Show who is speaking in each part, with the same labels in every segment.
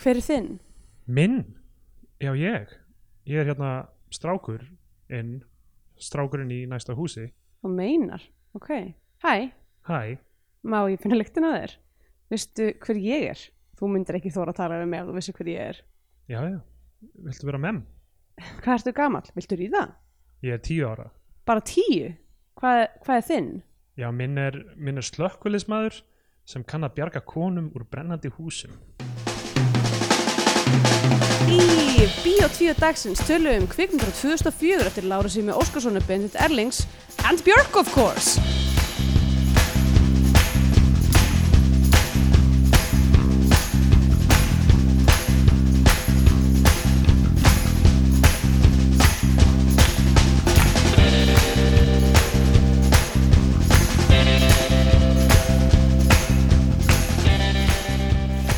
Speaker 1: Hver er þinn?
Speaker 2: Minn? Já, ég. Ég er hérna strákur inn, strákurinn í næsta húsi.
Speaker 1: Og meinar? Ok. Hæ,
Speaker 2: Hæ,
Speaker 1: má ég finna lyktin að þér? Veistu hver ég er? Þú myndir ekki þóra að tala við mig ef þú vissir hver ég er.
Speaker 2: já, já, viltu vera mem?
Speaker 1: Hvað ertu gamall? Viltu ríða?
Speaker 2: Ég er tíu ára.
Speaker 1: Bara tíu? Hvað, hvað er þinn?
Speaker 2: Já, minn er, minn er slökkulismæður sem kann að bjarga konum úr brennandi húsum.
Speaker 1: Í Bíó 2 dagsins tölum við um kvikmyndur á 2004 eftir Lára Sými Óskarssonu, Bendit Erlings and Björk of course.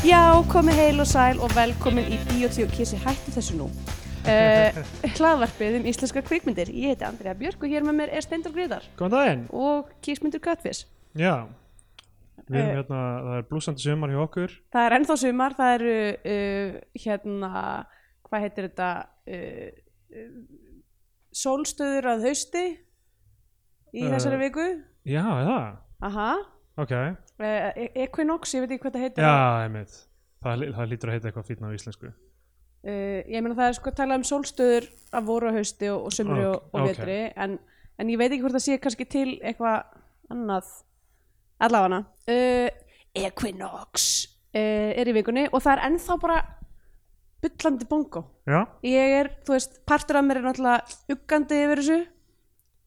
Speaker 1: Já, komið heil og sæl og velkomin í Bíotí og Kissi hættu þessu nú. Uh, hlaðvarpið um íslenska kvikmyndir. Ég heiti Andrea Björk og hér með mér er Steindor Gríðar
Speaker 2: Góðan daginn!
Speaker 1: og Kísmyndur Köttfis.
Speaker 2: Já, við erum
Speaker 1: Eh.
Speaker 2: hérna, það er blúsandi sumar hjá okkur.
Speaker 1: Það er ennþá sumar, það eru uh, hérna, hvað heitir þetta, uh, uh, sólstöður að hausti í
Speaker 2: Eh.
Speaker 1: þessari viku.
Speaker 2: Já, er það,
Speaker 1: Aha,
Speaker 2: ok.
Speaker 1: uh, Equinox, ég veit ekki hvað það heitir.
Speaker 2: Já, einmitt. Það, það lítur að heita eitthvað fínna á íslensku.
Speaker 1: uh, ég meina það er sko að tala um sólstöður af voru og hausti og, og sumri og,
Speaker 2: Ok,
Speaker 1: og
Speaker 2: ok.
Speaker 1: vetri en, en ég veit ekki hvort það sé kannski til eitthvað annað allafana uh, Equinox uh, er í vikunni og það er ennþá bara byllandi bongo
Speaker 2: Já,
Speaker 1: ég er, þú veist, partur af mér er náttúrulega uggandi yfir þessu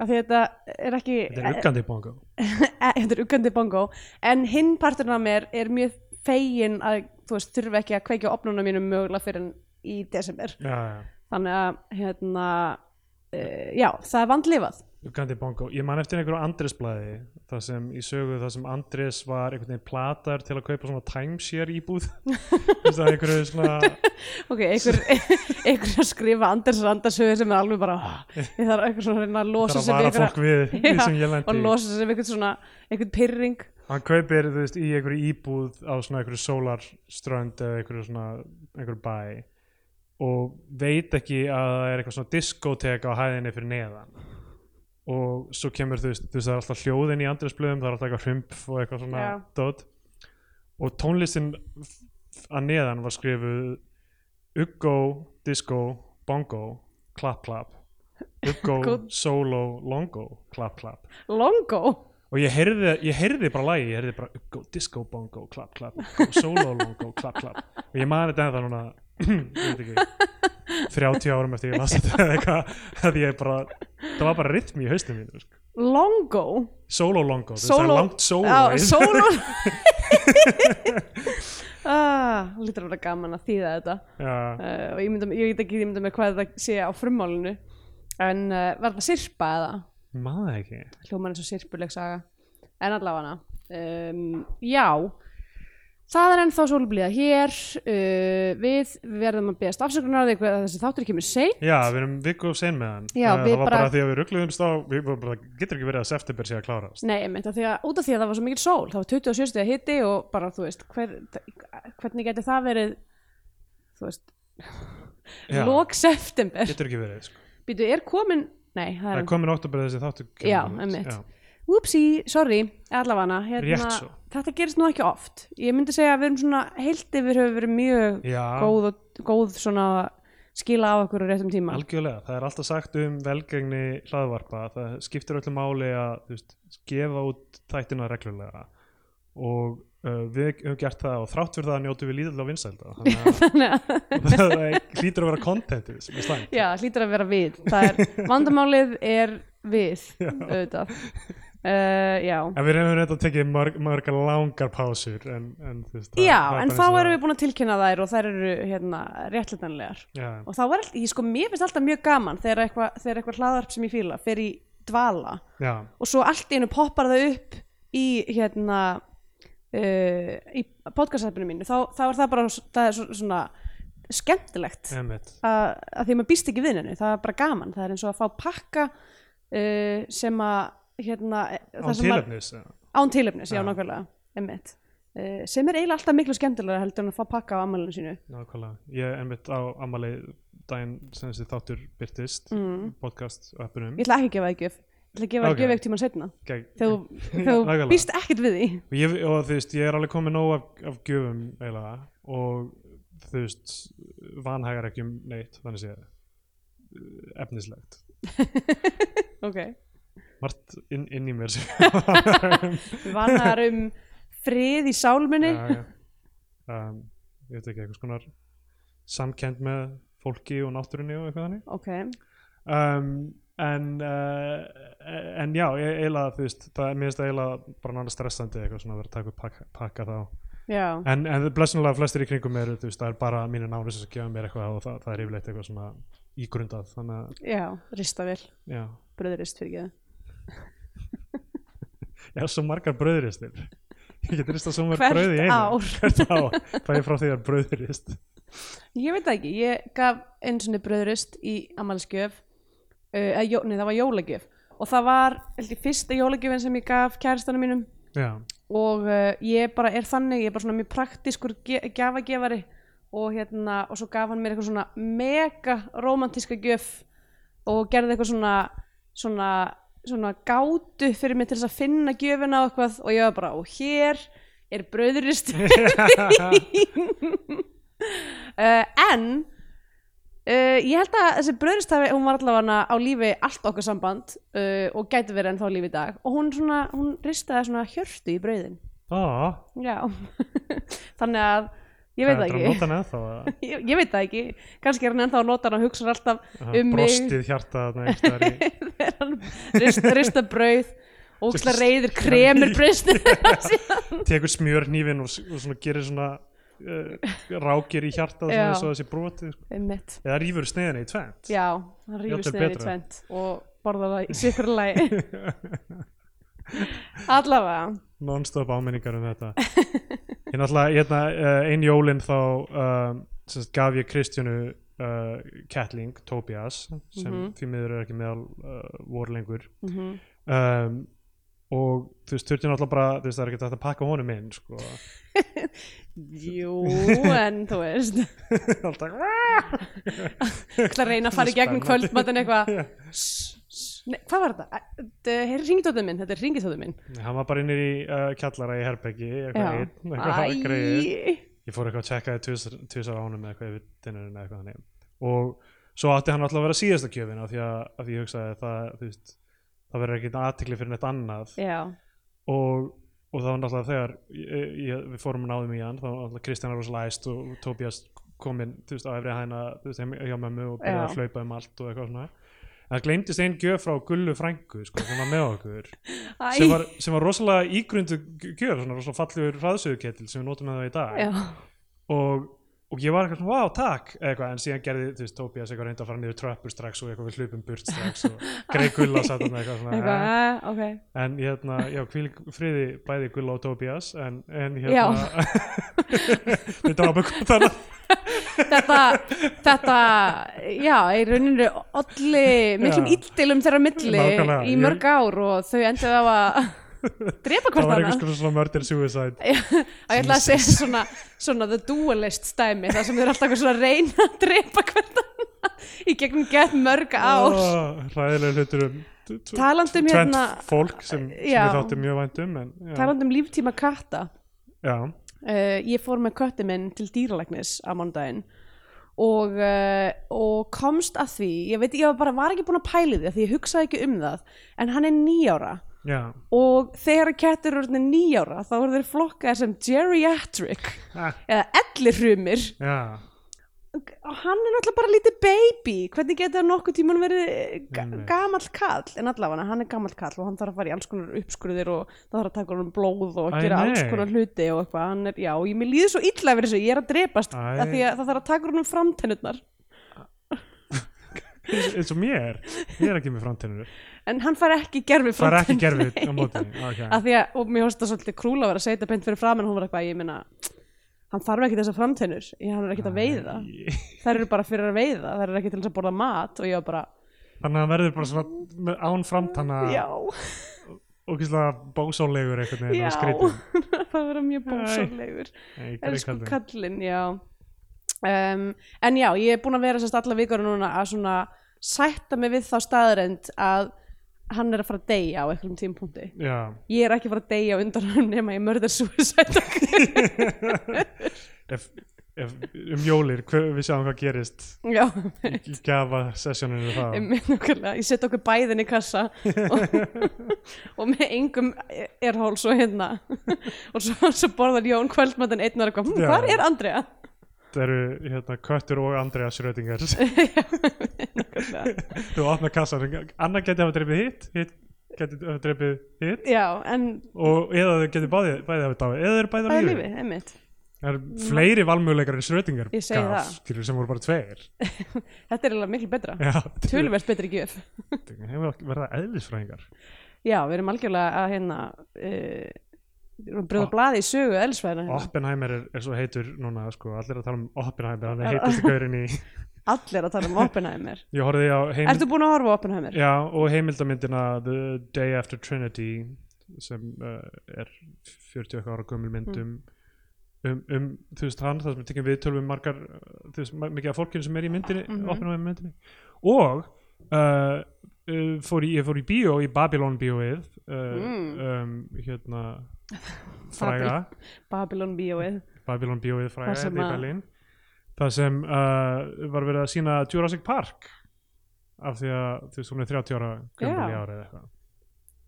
Speaker 1: af því þetta er ekki
Speaker 2: þetta er uggandi bongo.
Speaker 1: e- þetta er uggandi bongo en hinn parturinn af mér er mjög fegin að þú veist þurfa ekki að kveikja opnuna mínum mögulega fyrir en í desember
Speaker 2: Já, já.
Speaker 1: þannig að hérna uh, já, það er vandlifað
Speaker 2: Uggandi bongo, ég man eftir einhverju Andresblæði það sem í sögu það sem Andres var einhvern veginn platar til að kaupa svona timeshare íbúð þess að einhverju svona
Speaker 1: ok, einhver, einhver að skrifa Anders Randarsöðu sem er alveg bara "Ah, ég þarf eitthvað svona að reyna að
Speaker 2: þar
Speaker 1: losa
Speaker 2: að
Speaker 1: sig við
Speaker 2: vara
Speaker 1: einhverja-
Speaker 2: fólk við því sem ég
Speaker 1: og
Speaker 2: lendi í.
Speaker 1: losa sig við einhvern svona einhvern pyrring
Speaker 2: hann kaupir þú veist í einhverju íbúð á svona einhverju sólarströnd eða einhverju svona einhverju bæ og veit ekki að það er eitthvað svona diskotek á hæðinni fyrir neðan og svo kemur þú veist, þú veist það er alltaf hljóðin í Andresblöðum það er alltaf eitthvað hrumpf og eitthvað svona
Speaker 1: Já.
Speaker 2: dot og tónlistin f- f- að neðan var skrifuð Uggo, Disco, Bongo, Clap Clap Uggo,
Speaker 1: Góð.
Speaker 2: Solo, Longo, Clap Clap
Speaker 1: longo
Speaker 2: og ég heyrði, ég heyrði bara lagi ég heyrði bara Uggo, Disco, Bongo, Clap Clap Uggo, Solo, Longo, Clap Clap og ég man þetta ennþá núna ég veit ekki 30 árum eftir ég las þetta eða eitthvað að ég bara, það var bara rytmi í haustum mínu sko.
Speaker 1: longo
Speaker 2: solo longo, þú veist það
Speaker 1: Solo-
Speaker 2: er langt solo
Speaker 1: Já,
Speaker 2: í-
Speaker 1: solo ah, lítur að vera gaman að þýða þetta
Speaker 2: já,
Speaker 1: uh, og ég, mynda, ég veit ekki ég mynda með hvað þetta sé á frummálinu en uh, var það sirpa eða
Speaker 2: maður ekki
Speaker 1: hljómar eins og sirpuleg saga en allavega um, já það er ennþá sólblíða hér uh, við verðum að beðast afsökunar á því hvað þessi þáttur kemur sein
Speaker 2: já, við erum viku og sen með hann
Speaker 1: Já,
Speaker 2: Eh,
Speaker 1: við
Speaker 2: það var bara,
Speaker 1: bara-
Speaker 2: því að við ruggluðumst á við vorum bara, getur ekki verið að september sé að klára
Speaker 1: Nei, einmitt, af því að, út af því að það var svo mikil sól það var 27 stiga hitti og bara, þú veist hver, hvernig geti það verið þú veist
Speaker 2: Já.
Speaker 1: lok september
Speaker 2: getur ekki verið, sko.
Speaker 1: býtu, er komin, nei, það
Speaker 2: það
Speaker 1: er
Speaker 2: er komin oktober þessi þáttu
Speaker 1: Já, einmitt. Upsi, sorry, allavana hérna,
Speaker 2: Rétt svo.
Speaker 1: Þetta gerist nú ekki oft Ég myndi segja að við erum svona heilt yfir höfum verið mjög
Speaker 2: já,
Speaker 1: góð, og, góð svona skila á okkur á réttum tíma
Speaker 2: Algjörlega, það er alltaf sagt um velgengni hlaðvarpa, það skiptir öllu máli að þú veist, gefa út þættina reglulega og uh, við höfum gert það og þrátt fyrir það njótu við lítill á vinsælda þannig
Speaker 1: Þannig að,
Speaker 2: að það hlýtur að vera kontentið sem er slæmt
Speaker 1: Já, hlýtur að vera við Það er, vandamálið er við auðvitað uh, Já,
Speaker 2: En við hefum reynda að tekið marg, margar langar pásur en, en, þú veist, það-
Speaker 1: já
Speaker 2: það er
Speaker 1: en
Speaker 2: bara
Speaker 1: þá
Speaker 2: eins og
Speaker 1: erum við búin að tilkynna þær og þær eru hérna, réttlutanlegar
Speaker 2: það- Já,
Speaker 1: og þá er alltaf, ég sko, mér finnst alltaf mjög gaman þegar eitthvað þegar eitthvað hlaðarp sem ég fíla fer í dvala
Speaker 2: já,
Speaker 1: og svo allt í einu poppar það upp í hérna uh, í podcastappinu mínu þá, þá er það bara það er svo, svona skemmtilegt
Speaker 2: emmitt
Speaker 1: að, að því maður býst ekki við henni það er bara gaman, það er eins og að fá pakka uh, sem að hérna, það
Speaker 2: Án
Speaker 1: sem að-
Speaker 2: tilöfnis
Speaker 1: án tilöfnis, já,
Speaker 2: Já.
Speaker 1: nákvæmlega einmitt. uh, sem er eiginlega alltaf miklu skemmtilega heldur en að fá pakka á ammælinu sínu
Speaker 2: Nákvæmlega, ég einmitt á ammali daginn sem þessi þáttur byrtist
Speaker 1: mm.
Speaker 2: podcast appunum
Speaker 1: ég ætla ekki að gefa það gjöf ég ætla að gefa það
Speaker 2: Ok.
Speaker 1: gjöf ekkert tíma setna
Speaker 2: Gegn-
Speaker 1: þegar þú- þegar þú
Speaker 2: Nákvæmlega.
Speaker 1: býst ekkert við því
Speaker 2: og, ég, og þú veist, ég er alveg komið nóg af, af gjöfum eiginlega og þú veist, vanhægar ekki um neitt, þannig séð uh, efnislegt,
Speaker 1: ok,
Speaker 2: margt inn, inn í mér sem
Speaker 1: við vannar um frið í sálminni
Speaker 2: já, já. Um, ég veit ekki, eitthvað skonar samkend með fólki og náttúrunni og eitthvað þannig
Speaker 1: ok,
Speaker 2: um, en, uh, en já, e- eiginlega þú veist, það er mér finnst það eiginlega bara náttúrulega stressandi eitthvað svona að vera að taka upp pakka, pakka þá
Speaker 1: já
Speaker 2: en, en blessunlega flestir í kringum eru þú veist, það er bara mínu nánu sem gefa mér eitthvað og það, það er yfirleitt eitthvað svona ígrundað þannig að,
Speaker 1: já, ristavel,
Speaker 2: já,
Speaker 1: bröðurist fyrir
Speaker 2: ég hef svo margar bröðristir ég get ristað svo mörg
Speaker 1: Hvert
Speaker 2: bröð í einu
Speaker 1: ár.
Speaker 2: hvert ár, það er frá því að bröðrist
Speaker 1: ekki ég veit það ekki, ég gaf einu sinni bröðurist í ammælskjöf uh, eða jó- nei, það var jólagjöf og það var held ég, fyrsta jólagjöfin sem ég gaf kæristanum mínum
Speaker 2: já,
Speaker 1: og uh, ég bara er þannig ég er bara svona mjög praktískur ge gjafagefari og hérna og svo gaf hann mér eitthvað svona mega romantíska gjöf og gerði eitthvað svona svona, svona gátu fyrir mig til þess að finna gjöfina og eitthvað og ég var bara og hér er brauðurist uh, en uh, ég held að þessi bröðristafi hún var allavega á lífi allt okkar samband uh, og gæti verið ennþá á lífi í dag og hún, svona, hún ristaði svona hjörtu í brauðin
Speaker 2: á,
Speaker 1: já þannig að ég veit
Speaker 2: það
Speaker 1: það
Speaker 2: er að
Speaker 1: ekki
Speaker 2: nota hann ennþá að-
Speaker 1: ég, ég veit það ekki, kannski er hann ennþá að nota hann og hugsa alltaf
Speaker 2: að
Speaker 1: um mig
Speaker 2: brostið hjarta þarna einhvers staðar í-
Speaker 1: þegar hann rist, rista brauð og
Speaker 2: Just-
Speaker 1: óksla reyðir kremur brauðstu
Speaker 2: tekur smjör hnífin og, s- og svona gerir svona uh, rákir í hjarta
Speaker 1: Já.
Speaker 2: svona, svo þessi brotið sko.
Speaker 1: einmitt
Speaker 2: eða rýfur sneiðina í tvent
Speaker 1: já, hann rýfur
Speaker 2: Jafnvel
Speaker 1: sniður í
Speaker 2: betra.
Speaker 1: tvent og borða það í sikkur lagi allavega
Speaker 2: non-stop áminningar um þetta ég náttúrulega, hérna, uh, einn jólin þá um, sem sagt, gaf ég Kristjánu uh, Kettling, Tobias sem
Speaker 1: Mhm.
Speaker 2: því miður er ekki meðal uh, voru lengur
Speaker 1: mm
Speaker 2: um, og þú veist, þurfti náttúrulega bara þú veist, það er ekki hægt að pakka honum inn sko.
Speaker 1: Jú, en þú veist
Speaker 2: alltaf
Speaker 1: Það reyna að fara í gegnum
Speaker 2: Spennandi.
Speaker 1: kvöldmattin eitthvað Sss, sss. Nei, Hvað var þetta? Þetta er ringitótið minn, þetta er ringitótið minn
Speaker 2: hann var bara innir í uh, kjallara í herbeggi eitthvað
Speaker 1: Já.
Speaker 2: einn, eitthvað greið
Speaker 1: Æ,
Speaker 2: ég fór eitthvað að checka því tvisar ánum eða eitthvað yfir dinnerinn eða eitthvað þannig og svo átti hann alltaf að vera síðasta gjöfin af því að, af því ég hugsaði að það þú veist, það verður ekkert aðtikli fyrir neitt annað
Speaker 1: Já,
Speaker 2: og, og það var náttúrulega þegar ég, ég, við fórum og náðum í hann þá var náttúrulega Kristján Arús læst og Tobias kominn þú veist, á efri hæna þú veist, heim- hjá mömmu og byrjaði að
Speaker 1: Já.
Speaker 2: hlaupa um allt og eitthvað svona en það gleymdist einn gjöf frá Gullu frængu sko, sem var með okkur
Speaker 1: Æ.
Speaker 2: sem var, sem var rosalega ígrundu gjöf svona rosalega fallegur hraðsögukettil sem við notum með það í dag
Speaker 1: já,
Speaker 2: og, og ég var eitthvað svona, vá, takk eða eitthvað, en síðan gerði, þú veist, Tobias eitthvað reynda að fara niður tröppur strax og eitthvað við hlupum burt strax og greið gulla satt hann eitthvað svona
Speaker 1: eitthvað,
Speaker 2: eh.
Speaker 1: eh, ok
Speaker 2: en hérna, já, hvílík friði bæði gulla og Tobias en, en
Speaker 1: Já.
Speaker 2: hérna við drápum hvað þarna
Speaker 1: Þetta, þetta, já, í rauninu olli miklum
Speaker 2: Já.
Speaker 1: illdeilum þeirra á milli
Speaker 2: Nákvæmlega,
Speaker 1: í
Speaker 2: ég-
Speaker 1: mörg ár og þau enduðu á að drepa
Speaker 2: það
Speaker 1: hvort
Speaker 2: var
Speaker 1: annað
Speaker 2: einhvers konar svona murder suicide
Speaker 1: Já, að ég ætla að segja svona, svona the dualist stæmi það sem þeir eru alltaf eitthvað svona að reyna að drepa hvern annan í gegnum gett mörg ár oh,
Speaker 2: Ó, hræðilega hlutur um t- t-
Speaker 1: Talandi um
Speaker 2: tvennt
Speaker 1: hérna-
Speaker 2: fólk sem, sem
Speaker 1: Já.
Speaker 2: við þáttum mjög vænt um en, já,
Speaker 1: talandi um líftíma katta
Speaker 2: já,
Speaker 1: uh, ég fór með kötti minn til dýralæknis á mándaginn og, uh, og komst að því ég veit, ég var bara var ekki búin að pæli því af því ég hugsaði ekki um það en hann er nýjára
Speaker 2: já
Speaker 1: og þegar kettir eru orðnir nýjára þá eru þeir flokkaðir sem geriatric
Speaker 2: Ah,
Speaker 1: eða ellirhrumir
Speaker 2: já,
Speaker 1: og hann er náttúrulega bara lítið baby hvernig getur hann nokkuð tíman verið eh, ga
Speaker 2: Einmitt.
Speaker 1: gamall kall en allavega hann er gamall kall og hann þarf að fara í alls konar uppskurðir og það þarf að taka honum blóð og
Speaker 2: Æ,
Speaker 1: gera alls
Speaker 2: nei.
Speaker 1: konar hluti og eitthvað hann er, já, og ég mér líður svo illa fyrir þessu ég er að drepast
Speaker 2: Æ.
Speaker 1: af því að það þarf að taka honum framtennurnar
Speaker 2: eins eins og mér ég er ekki með framtennur
Speaker 1: en hann fær ekki gerfi
Speaker 2: Það er ekki
Speaker 1: framtennur
Speaker 2: gerfið á móti okay.
Speaker 1: af því að, og mér finnst það svolítið krúla að vera að segja þetta beint fyrir fram en hún var eitthvað, ég meina hann þarf ekki þessar framtennur, ég- hann er ekki að veiða þær eru bara fyrir að veiða, þær eru ekki til þess að borða mat og ég var bara,
Speaker 2: Ah. Þannig að það verður bara svona með- án framtanna
Speaker 1: já
Speaker 2: ógeðslega bósálegur einhvern veginn og skrýtin.
Speaker 1: það verður mjög bósarlegur
Speaker 2: Nei, ég gerði
Speaker 1: Elsku
Speaker 2: kallinn.
Speaker 1: kallinn, já um, En já, ég er búin að vera sérst alla vikar núna að svona sætta mig við þá staðrend að hann er að fara að deyja á einhverjum tímpunkti
Speaker 2: Já,
Speaker 1: Ég er ekki að fara að deyja á undan hann nema ég mörður suicide
Speaker 2: ef, ef, um jólir, hver, við sjáum hvað gerist
Speaker 1: Já,
Speaker 2: í í gafa sessjóninu það.
Speaker 1: einmitt nákvæmlega Ég set okkur bæðin í kassa og, og með engum er hól svo hérna og svo, svo borðar Jón kvöldmöndin einn og er eitthvað, "Hm,
Speaker 2: Já.
Speaker 1: hvar er Andrea?
Speaker 2: Það eru hérna, köttur og Andrea Schrödinger.
Speaker 1: Nákvæmlega
Speaker 2: Þú opnar kassan, annar geti hafa dreipið hitt, hitt geti hafa dreipið hitt
Speaker 1: Já, en
Speaker 2: og eða þau geti bæði, bæði hafa dáið, eða þau eru bæði á
Speaker 1: það er
Speaker 2: lífi.
Speaker 1: lífi, einmitt
Speaker 2: Það eru fleiri valmöguleikar en Schrödinger
Speaker 1: Ég segi það.
Speaker 2: skilur, sem voru bara tveir.
Speaker 1: Þetta er eiginlega miklu betra
Speaker 2: Já,
Speaker 1: Töluvert betri gjöf
Speaker 2: Hefur verða eðlisfræðingar.
Speaker 1: Já, við erum algjörlega að hérna uh, brjóða
Speaker 2: Ah.
Speaker 1: blaði í sögu elsfæðina hérna.
Speaker 2: Oppenheimer er, er svo heitur núna, sko, allir að tala um Oppenheimer, hann er heitast í gaurin í...
Speaker 1: Allir að tala um Oppenheimer
Speaker 2: Ég horfði á heimild...
Speaker 1: Ertu búin að horfa á Oppenheimer?
Speaker 2: Já, og heimildamyndina The Day After Trinity sem uh, er 40 eitthvað ára
Speaker 1: Mm.
Speaker 2: gömul mynd um, um, um þú veist hann, það sem við tekjum við tölum margar, uh, þú veist, ma- mikið af fólkinu sem er í myndinni, mm
Speaker 1: Mhm.
Speaker 2: myndinni og uh, uh, fór í, ég fór í bíó, í Babylon bíóið uh,
Speaker 1: Mm.
Speaker 2: um, hérna fræga
Speaker 1: Babylon bíóið
Speaker 2: Babylon bíóið fræga
Speaker 1: Þar sem
Speaker 2: hérna í
Speaker 1: að-
Speaker 2: Berlín það sem uh, var verið að sína Jurassic Park af því að þú veist hún er 30 ára gömul í
Speaker 1: Já.
Speaker 2: ári eða eitthvað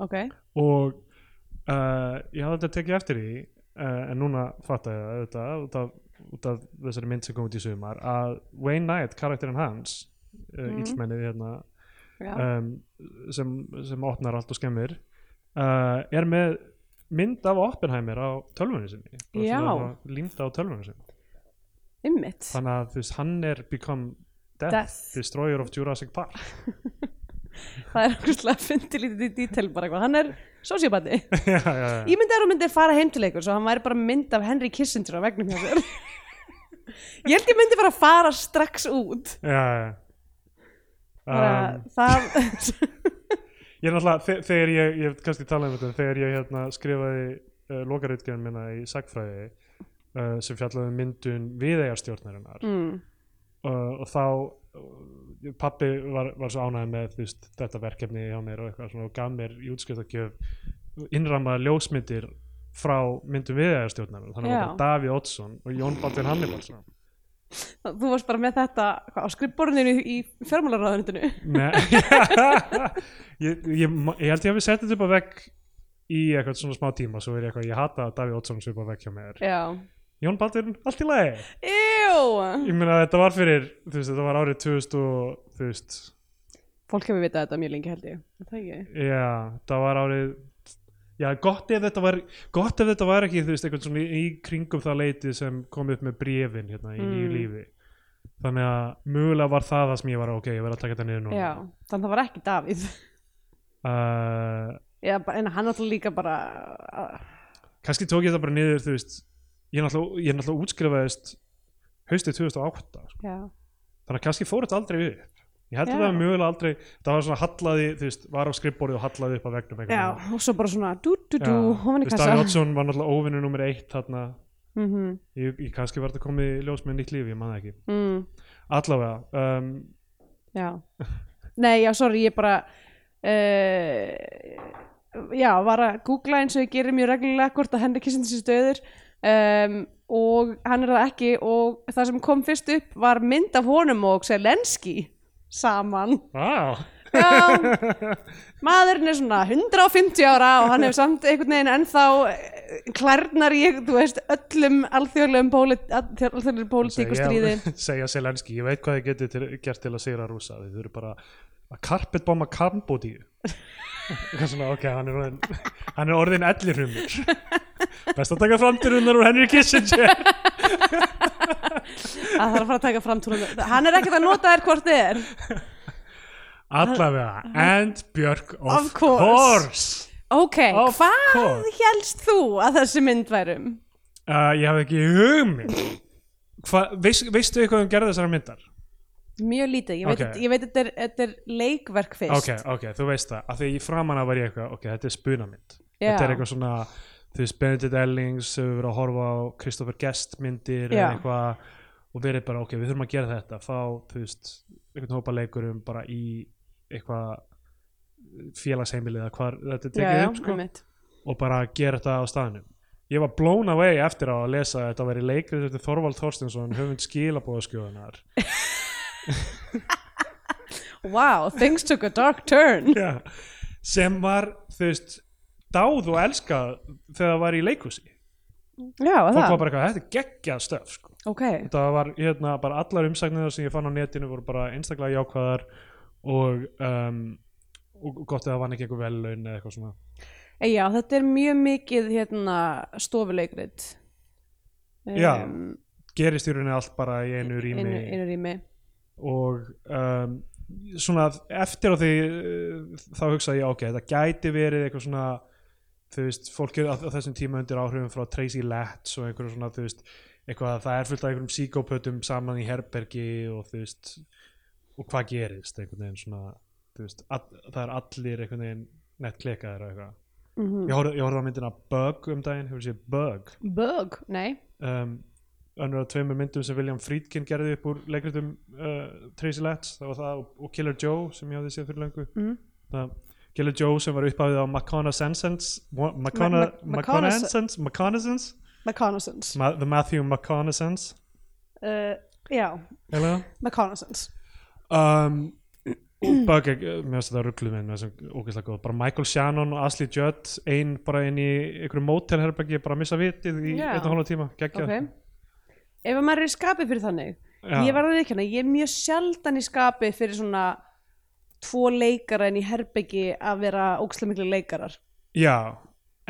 Speaker 1: Ok,
Speaker 2: og uh, ég hafði þetta tekið eftir því uh, en núna fatta ég það auðvitað út af, út af þessari mynd sem kom út í sumar að Wayne Knight, karakterinn hans uh,
Speaker 1: Mhm.
Speaker 2: íllmennið hérna
Speaker 1: já,
Speaker 2: um, sem, sem opnar allt og skemmir uh, er með mynd af Oppenheimer á tölvunni sinni Bara
Speaker 1: Já.
Speaker 2: svona límda á tölvunni sinni
Speaker 1: ymmit
Speaker 2: þannig að þú veist, hann er become death,
Speaker 1: Death.
Speaker 2: destroyer of Jurassic Park
Speaker 1: Það er okkurslega að fyndi lítið í dítel bara eitthvað Hann er sociopati
Speaker 2: já, já, já.
Speaker 1: Ég myndi að hún myndi fara heim til einhvers og hann væri bara mynd af Henry Kissinger á vegnum hjá sér Ég held ég myndi bara fara strax út
Speaker 2: já, já.
Speaker 1: Bara,
Speaker 2: Um,
Speaker 1: Það,
Speaker 2: ég er náttúrulega þe- þegar ég, ég hef kannski talað um þetta þegar ég hérna, skrifaði uh, lokarutgjörn minna í sagfræði uh, sem fjallaði um myndun viðeigarstjórnarinnar
Speaker 1: mm,
Speaker 2: uh, og þá uh, pappi var, var svo ánægð með þú veist, þetta verkefni hjá mér og eitthvað svona og gaf mér í útskjöftakjöf innrammaða ljósmyndir frá myndum viðæðarstjórnar þannig
Speaker 1: Já.
Speaker 2: að Davíð Oddsson og Jón Baldvin Hannibalsson
Speaker 1: þú varst bara með þetta hvað, á skrifborðinu í fjármálaráðunitinu
Speaker 2: Nei ég, ég, ma- ég held ég hafi sett þetta upp að vegg í eitthvað svona smá tíma svo er ég eitthvað, ég hata að Davíð Oddsson sem upp að vegg hjá mér
Speaker 1: Já
Speaker 2: Jón Baldvin, allt í lagi
Speaker 1: Jú
Speaker 2: ég meina þetta var fyrir, þú veist, þetta var árið 2000 og, þú veist,
Speaker 1: Fólk hefur vitað þetta mjög lengi held ég Er Það ekki
Speaker 2: Já, það var árið Já, gott ef þetta var gott ef þetta var ekki, þú veist, eitthvað svona í, í kringum það leiti sem kom upp með brefin hérna í nýju
Speaker 1: Mm.
Speaker 2: lífi Þannig að mögulega var það það sem ég var ok, ég verð að taka þetta niður núna
Speaker 1: Já Þannig að það var ekki Davíð
Speaker 2: uh,
Speaker 1: Já, bara- en hann alltaf líka bara
Speaker 2: Kannski tók ég þetta bara niður, þú veist Ég náttúrulega, ég náttúrulega útskrifaðist haustið 2008 sko.
Speaker 1: Já
Speaker 2: Þannig að kannski fór þetta aldrei upp Ég held
Speaker 1: Já.
Speaker 2: að það var mögulega aldrei Það var svona hallaði, þú veist, var á skrifborðið og hallaði upp að vegnum
Speaker 1: Já,
Speaker 2: einhvern veginn.
Speaker 1: og svo bara svona dú, dú,
Speaker 2: Já.
Speaker 1: dú, ofan í
Speaker 2: Þú veist,
Speaker 1: kassa
Speaker 2: Davíð Oddsson var náttúrulega óvinnu nummer eitt þarna
Speaker 1: mm -hmm.
Speaker 2: ég, ég kannski var þetta komið í ljós með nýtt líf, ég man það ekki
Speaker 1: mm,
Speaker 2: allavega, um,
Speaker 1: Já Nei, já, sorry, ég bara uh, Já, var að googla eins og ég gerir mjög reglulega hvort að Henry Kissinger sér stöður um, og hann er það ekki og það sem kom fyrst upp var mynd af honum og Selenski saman
Speaker 2: wow.
Speaker 1: Já, maðurinn er svona 150 ára og hann hefur samt einhvern veginn ennþá eh, klærnar í, þú veist, öllum alþjóðlegum pólit, alþjóðlegum pólitík og stríði.
Speaker 2: segja Selenski, ég veit hvað þið getur til, gert til að sigra rúsa, þið eru bara að karpetbomba Kambodíu eitthvað svona, ok, hann er orðin hann er orðin ellirumur best að taka framtírunar úr Henry Kissinger
Speaker 1: að það er að fara að taka fram túnum. Hann er ekkert að nota þér hvort þið er.
Speaker 2: allavega, and Björk of,
Speaker 1: Of course. Ok,
Speaker 2: Of
Speaker 1: hvað
Speaker 2: course.
Speaker 1: helst þú að þessi mynd værum?
Speaker 2: Uh, ég hafði ekki hugmynd Hva, veist, veistu eitthvað um gerði þessara myndar?
Speaker 1: mjög lítið, ég veit,
Speaker 2: Ok.
Speaker 1: ég veit þetta, er, þetta er leikverk fyrst
Speaker 2: ok, ok, þú veist það, af því að ég framan að var ég eitthvað ok, þetta er spunamind
Speaker 1: Já.
Speaker 2: þetta er eitthvað svona, þú veist, Benedict Ellings hefur verið að horfa á Christopher Guest myndir eða
Speaker 1: Já.
Speaker 2: eitthvað og verið bara, ok, við þurfum að gera þetta fá, þú veist, einhvern hópa leikurum bara í eitthvað félagsheimilið eða hvar þetta er
Speaker 1: já,
Speaker 2: tekið
Speaker 1: já,
Speaker 2: upp, sko,
Speaker 1: einmitt.
Speaker 2: og bara gera þetta á staðnum ég var blown away eftir á að lesa að þetta veri leikrið eftir Þorvald Þorstinsson höfund skilabóðaskjóðunar
Speaker 1: wow, things took a dark turn
Speaker 2: Já, sem var þú veist, dáð og elskað þegar það var í leikhúsi
Speaker 1: já, að
Speaker 2: fólk var
Speaker 1: það,
Speaker 2: bara eitthvað, þetta er geggjað stöf sko.
Speaker 1: ok
Speaker 2: þetta var hérna, bara allar umsagnir sem ég fann á netinu voru bara einstaklega jákvæðar og, um, og gott að það vann ekki eitthvað vellaun eða eitthvað svona
Speaker 1: e, já, þetta er mjög mikið hérna, stofuleikrit
Speaker 2: Já, gerist í rauninni allt bara í einu rými
Speaker 1: einu, einu rými
Speaker 2: og um, svona eftir á því uh, þá hugsaði ég ok, þetta gæti verið eitthvað svona þú veist, fólk er á á þessum tíma undir áhrifum frá Tracy Letts og einhverju svona, þú veist eitthvað, það er fullt af einhverjum psíkópötum saman í herbergi og þú veist og hvað gerist, einhvern veginn svona þú veist, all, það er allir einhvern veginn nett klekaðir og eitthvað
Speaker 1: mm
Speaker 2: ég horfði, ég horfði á myndina Bug um daginn, hefur séð Bug
Speaker 1: bug, nei
Speaker 2: um, önnur af tveimur myndum sem William Friedkin gerði upp úr leikritum uh, Tracy Letts, það var það og, og Killer Joe sem ég hafði séð fyrir löngu
Speaker 1: Mhm.
Speaker 2: það, Killer Joe sem var upphafið á
Speaker 1: Ma-
Speaker 2: McConaughey
Speaker 1: ma- McConaughey-
Speaker 2: McConaughey
Speaker 1: reconnaissance
Speaker 2: The Matthew McConaughey
Speaker 1: uh, já,
Speaker 2: Hello?
Speaker 1: reconnaissance
Speaker 2: um, og bak, mér finnst þetta ruggluð minn með þessum ógeðslega góð, bara Michael Shannon og Ashley Judd ein bara inn í einhverju mótelherbergi bara að missa vitið í
Speaker 1: Já.
Speaker 2: yeah. einn og hálfa tíma geggjað.
Speaker 1: ok ef að maður er í skapi fyrir þannig
Speaker 2: Já.
Speaker 1: ég var að reikna, ég er mjög sjaldan í skapi fyrir svona tvo leikara en í herbyggi að vera ógstlega miklu leikarar
Speaker 2: Já,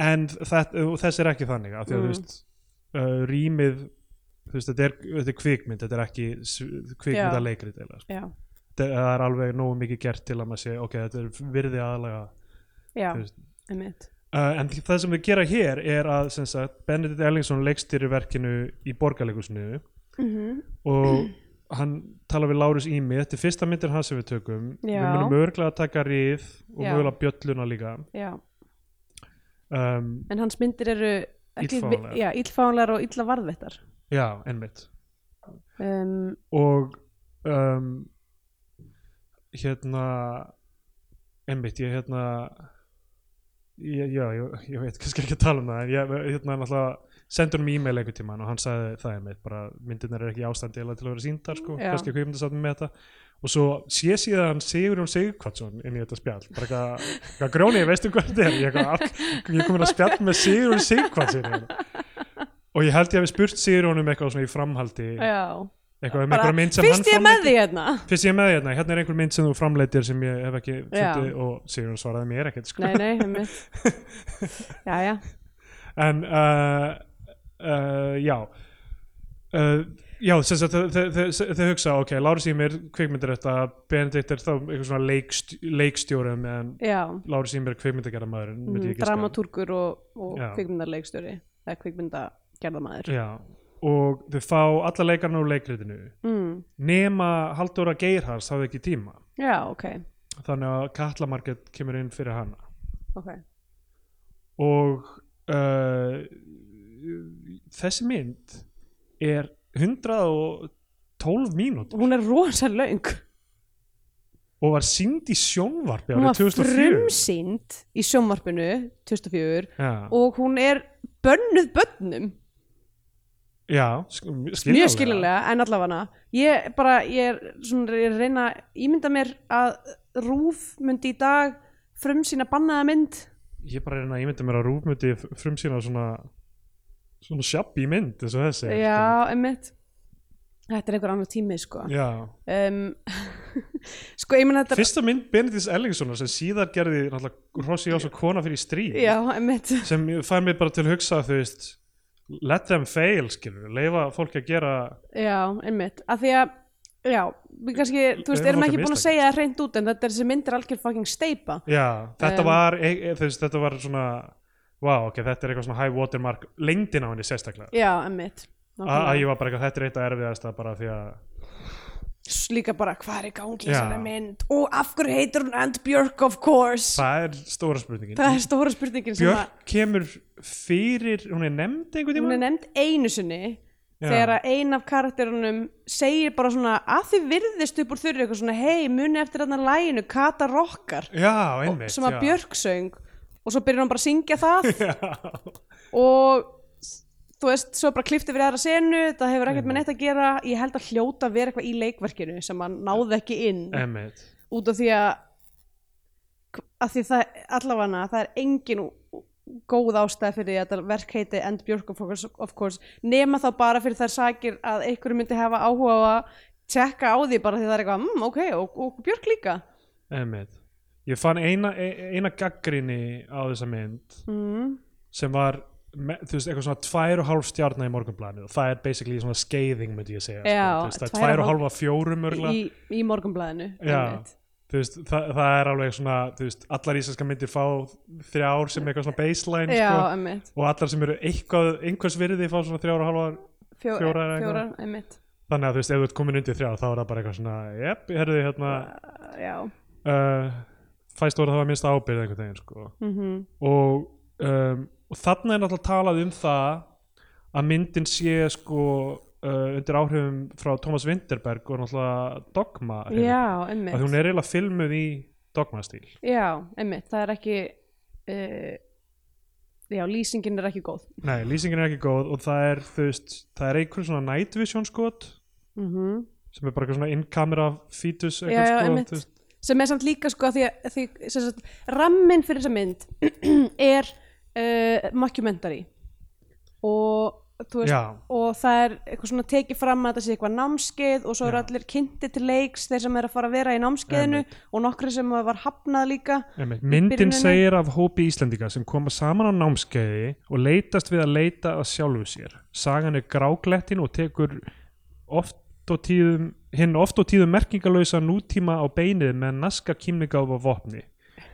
Speaker 2: en það, þess er ekki þannig af því að
Speaker 1: Mm.
Speaker 2: þú veist uh, rýmið þú veist, þetta er, þetta er kvikmynd þetta er ekki kvikmynd að leikrit sko.
Speaker 1: já,
Speaker 2: Þetta- það er alveg nógu mikið gert til að maður sé ok, þetta er virði aðalega
Speaker 1: já,
Speaker 2: Þú veist.
Speaker 1: einmitt
Speaker 2: uh, en það sem við gera hér er að sem sagt, Benedikt Ellingsson leikstýri verkinu í borgarleikusinu
Speaker 1: mm -hmm.
Speaker 2: og hann tala við Lárus Ími þetta er fyrsta myndir hans sem við tökum
Speaker 1: Já.
Speaker 2: við munum örglega að taka ríð og
Speaker 1: Já.
Speaker 2: mögulega bjölluna líka
Speaker 1: já.
Speaker 2: um,
Speaker 1: en hans myndir eru ekki-
Speaker 2: Illfáanlegar.
Speaker 1: já, illfáanlegar og illa varðvettar
Speaker 2: já, ennmitt
Speaker 1: um,
Speaker 2: og um, hérna einmitt ég hérna ég, já, ég, ég veit kannski ekki að tala um það en ég, hérna náttúrulega sendur hann e-mail einhvern tímann og hann sagði það einmitt bara myndirnar er ekki í ástandi eiginlega til að vera síndar sko,
Speaker 1: Já.
Speaker 2: kannski hvað ég myndi satt með þetta og svo sé síðan Sigurjón Sigurkvartsson inn í þetta spjall bara eitthvað, eitthvað grjóni, veistu hvað þetta er ég, eitthvað, af- ég komin að spjall með Sigurjón Sigurkvartsson hérna. og ég held ég hafi spurt Sigurjón um eitthvað svona í framhaldi
Speaker 1: já
Speaker 2: eitthvað um
Speaker 1: Bara,
Speaker 2: einhverja mynd sem hann
Speaker 1: fyrst ég er
Speaker 2: framleiddi
Speaker 1: með því hérna
Speaker 2: fyrst ég er með þér hérna, hérna er einhver mynd sem þú framleitir sem ég hef ekki fundið
Speaker 1: Já.
Speaker 2: og Sigurinn svaraði mér ekkert sko.
Speaker 1: nei, nei, einmitt já, já,
Speaker 2: en uh, uh, já uh, já, sem sagt þau- þau- þau þau hugsa, ok, Lárus Ímir kvikmyndir þetta, Benedikt er þá einhver svona leikst, leikstjórum en
Speaker 1: já
Speaker 2: Lárus Ímir er kvikmyndagerðamaður mm
Speaker 1: Mhm, dramatúrkur og, og
Speaker 2: Já.
Speaker 1: kvikmyndarleikstjóri eða kvikmyndagerðamaður
Speaker 2: já, og þau fá alla leikarna úr leikritinu
Speaker 1: mm,
Speaker 2: nema Halldóra Geirhars hafði ekki tíma
Speaker 1: já, ok,
Speaker 2: þannig að Katla Market kemur inn fyrir hana
Speaker 1: ok
Speaker 2: og uh, þessi mynd er 112 mínútur
Speaker 1: hún er rosa löng
Speaker 2: og var sínd í sjónvarpi
Speaker 1: hún var
Speaker 2: árið 2004
Speaker 1: frumsýnd í sjónvarpinu 2004
Speaker 2: já,
Speaker 1: og hún er bönnuð bönnum
Speaker 2: já, sko, sk
Speaker 1: mjög skiljulega en allavega ég bara, ég er svona ég er að reyna að ímynda mér að Rúf myndi í dag frumsýna bannaða mynd
Speaker 2: ég bara reyna að ímynda mér að rúfmyndi frumsýna svona svona sjabbi mynd eins og þessi sko.
Speaker 1: já, emmitt þetta er einhver annar tími sko
Speaker 2: já.
Speaker 1: um, sko ég meina þetta
Speaker 2: fyrsta mynd Benedis Ellingssonar sem síðar gerði náttúrulega Rossi Jás og kona fyrir stríð
Speaker 1: já, emmitt
Speaker 2: sem fær mig bara til að hugsa þú veist, let them fail skilur, leifa fólki að gera
Speaker 1: já, emmitt að því að Já, við kannski, þú veist,
Speaker 2: Leyfum
Speaker 1: erum
Speaker 2: okkur
Speaker 1: ekki búin að
Speaker 2: mistakast.
Speaker 1: segja það hreint út en þetta er þessi myndir algjör fucking steipa
Speaker 2: Já, þetta
Speaker 1: Um,
Speaker 2: var e, e, þess, þetta var svona wow, ok, þetta er eitthvað svona high watermark lengdin á henni sérstaklega
Speaker 1: Já, emmitt
Speaker 2: Ah, A- að ég var bara eitthvað, þetta er eitt að erfiðast bara því að
Speaker 1: S- líka bara hvað er í gangi í
Speaker 2: Já.
Speaker 1: þessari mynd og af hverju heitir hún And Björk of course
Speaker 2: það er stóra spurningin
Speaker 1: það er stóra spurningin sem að
Speaker 2: Björk kemur fyrir hún er nefnd
Speaker 1: hún
Speaker 2: einhvern
Speaker 1: er
Speaker 2: tímann
Speaker 1: nefnd einu sinni
Speaker 2: Já.
Speaker 1: þegar að ein af karakterunum segir bara svona að þið virðist upp úr þurri eitthvað svona hei muni eftir þarna læginu Kata Rokkar
Speaker 2: já, einmitt
Speaker 1: sem að
Speaker 2: já.
Speaker 1: Björk söng og svo byrjar hann bara að syngja það
Speaker 2: já.
Speaker 1: og þú veist, svo bara klifti fyrir aðra senu það hefur ekkert með neitt að gera ég held að hljóta að vera eitthvað í leikverkinu sem hann náði ekki inn
Speaker 2: einmitt
Speaker 1: út af því að að því það, allavega það er engin ú- ú- góð ástæð fyrir því að þetta verk heiti End Björk of course, of course nema þá bara fyrir þær sakir að einhverju myndi hafa áhuga á að tjekka á því bara því það er eitthvað, mm, ok, og, og Björk líka
Speaker 2: Einmitt. Ég fann eina, e- eina gaggrinni á þessa mynd
Speaker 1: mm.
Speaker 2: sem var me- þú veist, eitthvað svona tvær og hálf stjarnar í morgunblæðinu og það er basically svona skeiðing myndi ég segja, sko.
Speaker 1: Já,
Speaker 2: þú veist, það er
Speaker 1: tvær og
Speaker 2: tvær og
Speaker 1: hálf-
Speaker 2: hálfa fjórum örgla
Speaker 1: í, í morgunblæðinu
Speaker 2: Já, þú veist, það, það er alveg svona þú veist, allar íslenska myndir fá þrjár sem eitthvað svona baseline
Speaker 1: já,
Speaker 2: sko,
Speaker 1: emmitt
Speaker 2: og allar sem eru eitthvað, einhvers virði fá svona þrjár og hálfar
Speaker 1: Fjó,
Speaker 2: Fjórar eða eitthvað.
Speaker 1: fjórar, emmitt
Speaker 2: þannig að þú veist, ef þú ert komin undir þrjár þá er það bara eitthvað svona, jep, herðu hérna
Speaker 1: já,
Speaker 2: uh, fæst voru að það var minnst ábyrð einhvern veginn sko.
Speaker 1: mhm
Speaker 2: og, um, og þarna er náttúrulega talað um það að myndin sé sko uh, undir áhrifum frá Thomas Winterberg og náttúrulega dogma hreyfingunni.
Speaker 1: já,
Speaker 2: Af því
Speaker 1: emmitt
Speaker 2: hún er eiginlega filmuð í dogmastíl
Speaker 1: já, emmitt, það er ekki uh, já, lýsingin er ekki góð
Speaker 2: nei, lýsingin er ekki góð og það er þú veist, það er einhver svona night vision skot
Speaker 1: mm
Speaker 2: Mhm. sem er bara eitthvað svona in-camera fetus
Speaker 1: já, já,
Speaker 2: eitthvað sko,
Speaker 1: emmitt
Speaker 2: skot,
Speaker 1: sem er samt líka sko því að því, sem sagt, rammin fyrir þessa mynd er uh, mockumentary og þú veist
Speaker 2: þú veist, já,
Speaker 1: og það er eitthvað svona tekið fram að þetta sé eitthvað námskeið og svo eru
Speaker 2: Já.
Speaker 1: allir kynnti til leiks þeir sem eru að fara að vera í námskeiðinu og nokkri sem var hafnað líka
Speaker 2: Einmitt. Myndin
Speaker 1: byrjuninni.
Speaker 2: segir af hópi Íslendinga sem koma saman á námskeiði og leitast við að leita að sjálfu sér. Sagan er gráglettin og tekur oft og tíðum, hinn oft og tíðum merkingalösa nútíma á beinið með naska kýmningáf og vopni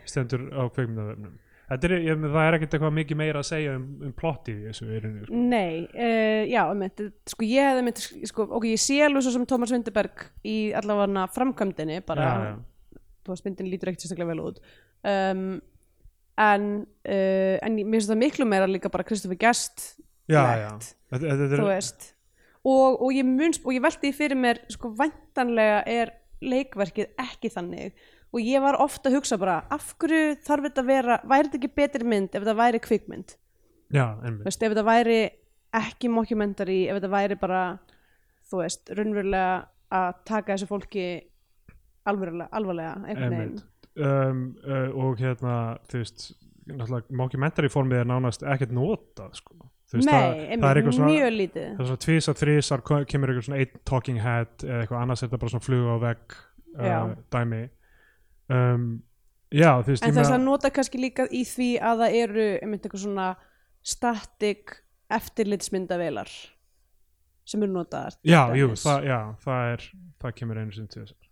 Speaker 2: stendur á kveikmyndavefnum. Þetta Er, ég, það er ekkert eitthvað mikið meira að segja um, um plottið í þessu erinu. Sko.
Speaker 1: Nei, uh, já, einmitt, sko ég hefði einmitt, sko, ok, ég sé alveg svo sem Tómas Vinderberg í allavega framkvæmdinni, bara,
Speaker 2: Já, já.
Speaker 1: þú veist, myndin lítur ekkert sérstaklega vel út, um, en, uh, en mér finnst það miklu meira líka bara Kristoffer Gest,
Speaker 2: Já,
Speaker 1: Lett.
Speaker 2: já. Þetta, þetta,
Speaker 1: þú
Speaker 2: þetta er,
Speaker 1: veist, og, og ég munst, og ég velti því fyrir mér, sko, væntanlega er leikverkið ekki þannig, og ég var ofta að hugsa bara, af hverju þarf þetta að vera, væri þetta ekki betri mynd ef þetta væri kvikmynd?
Speaker 2: já,
Speaker 1: þú
Speaker 2: einmitt.
Speaker 1: veist, ef þetta væri ekki mockumentary, ef þetta væri bara þú veist, raunverulega að taka þessu fólki alvarlega, alvarlega einhvern veginn
Speaker 2: Einmitt. Um, uh, og hérna, þú veist, náttúrulega mockumentary formið er nánast ekkert notað, sko. Þú veist,
Speaker 1: Nei,
Speaker 2: það- það er
Speaker 1: einmitt,
Speaker 2: eitthvað svona-
Speaker 1: mjög lítið
Speaker 2: það er svona tvísar, þrísar ko- kemur eitthvað svona einn talking head eða eitthvað annars er þetta bara svona fluga á vegg uh,
Speaker 1: Já.
Speaker 2: dæmi um, já, þú veist
Speaker 1: en
Speaker 2: ég
Speaker 1: þess að
Speaker 2: meina-
Speaker 1: nota kannski líka í því að það eru einmitt eitthvað svona static eftirlitsmyndavélar sem eru notaðar til
Speaker 2: já, jú,
Speaker 1: dæmis.
Speaker 2: það, já, það er það kemur einu sinni til þess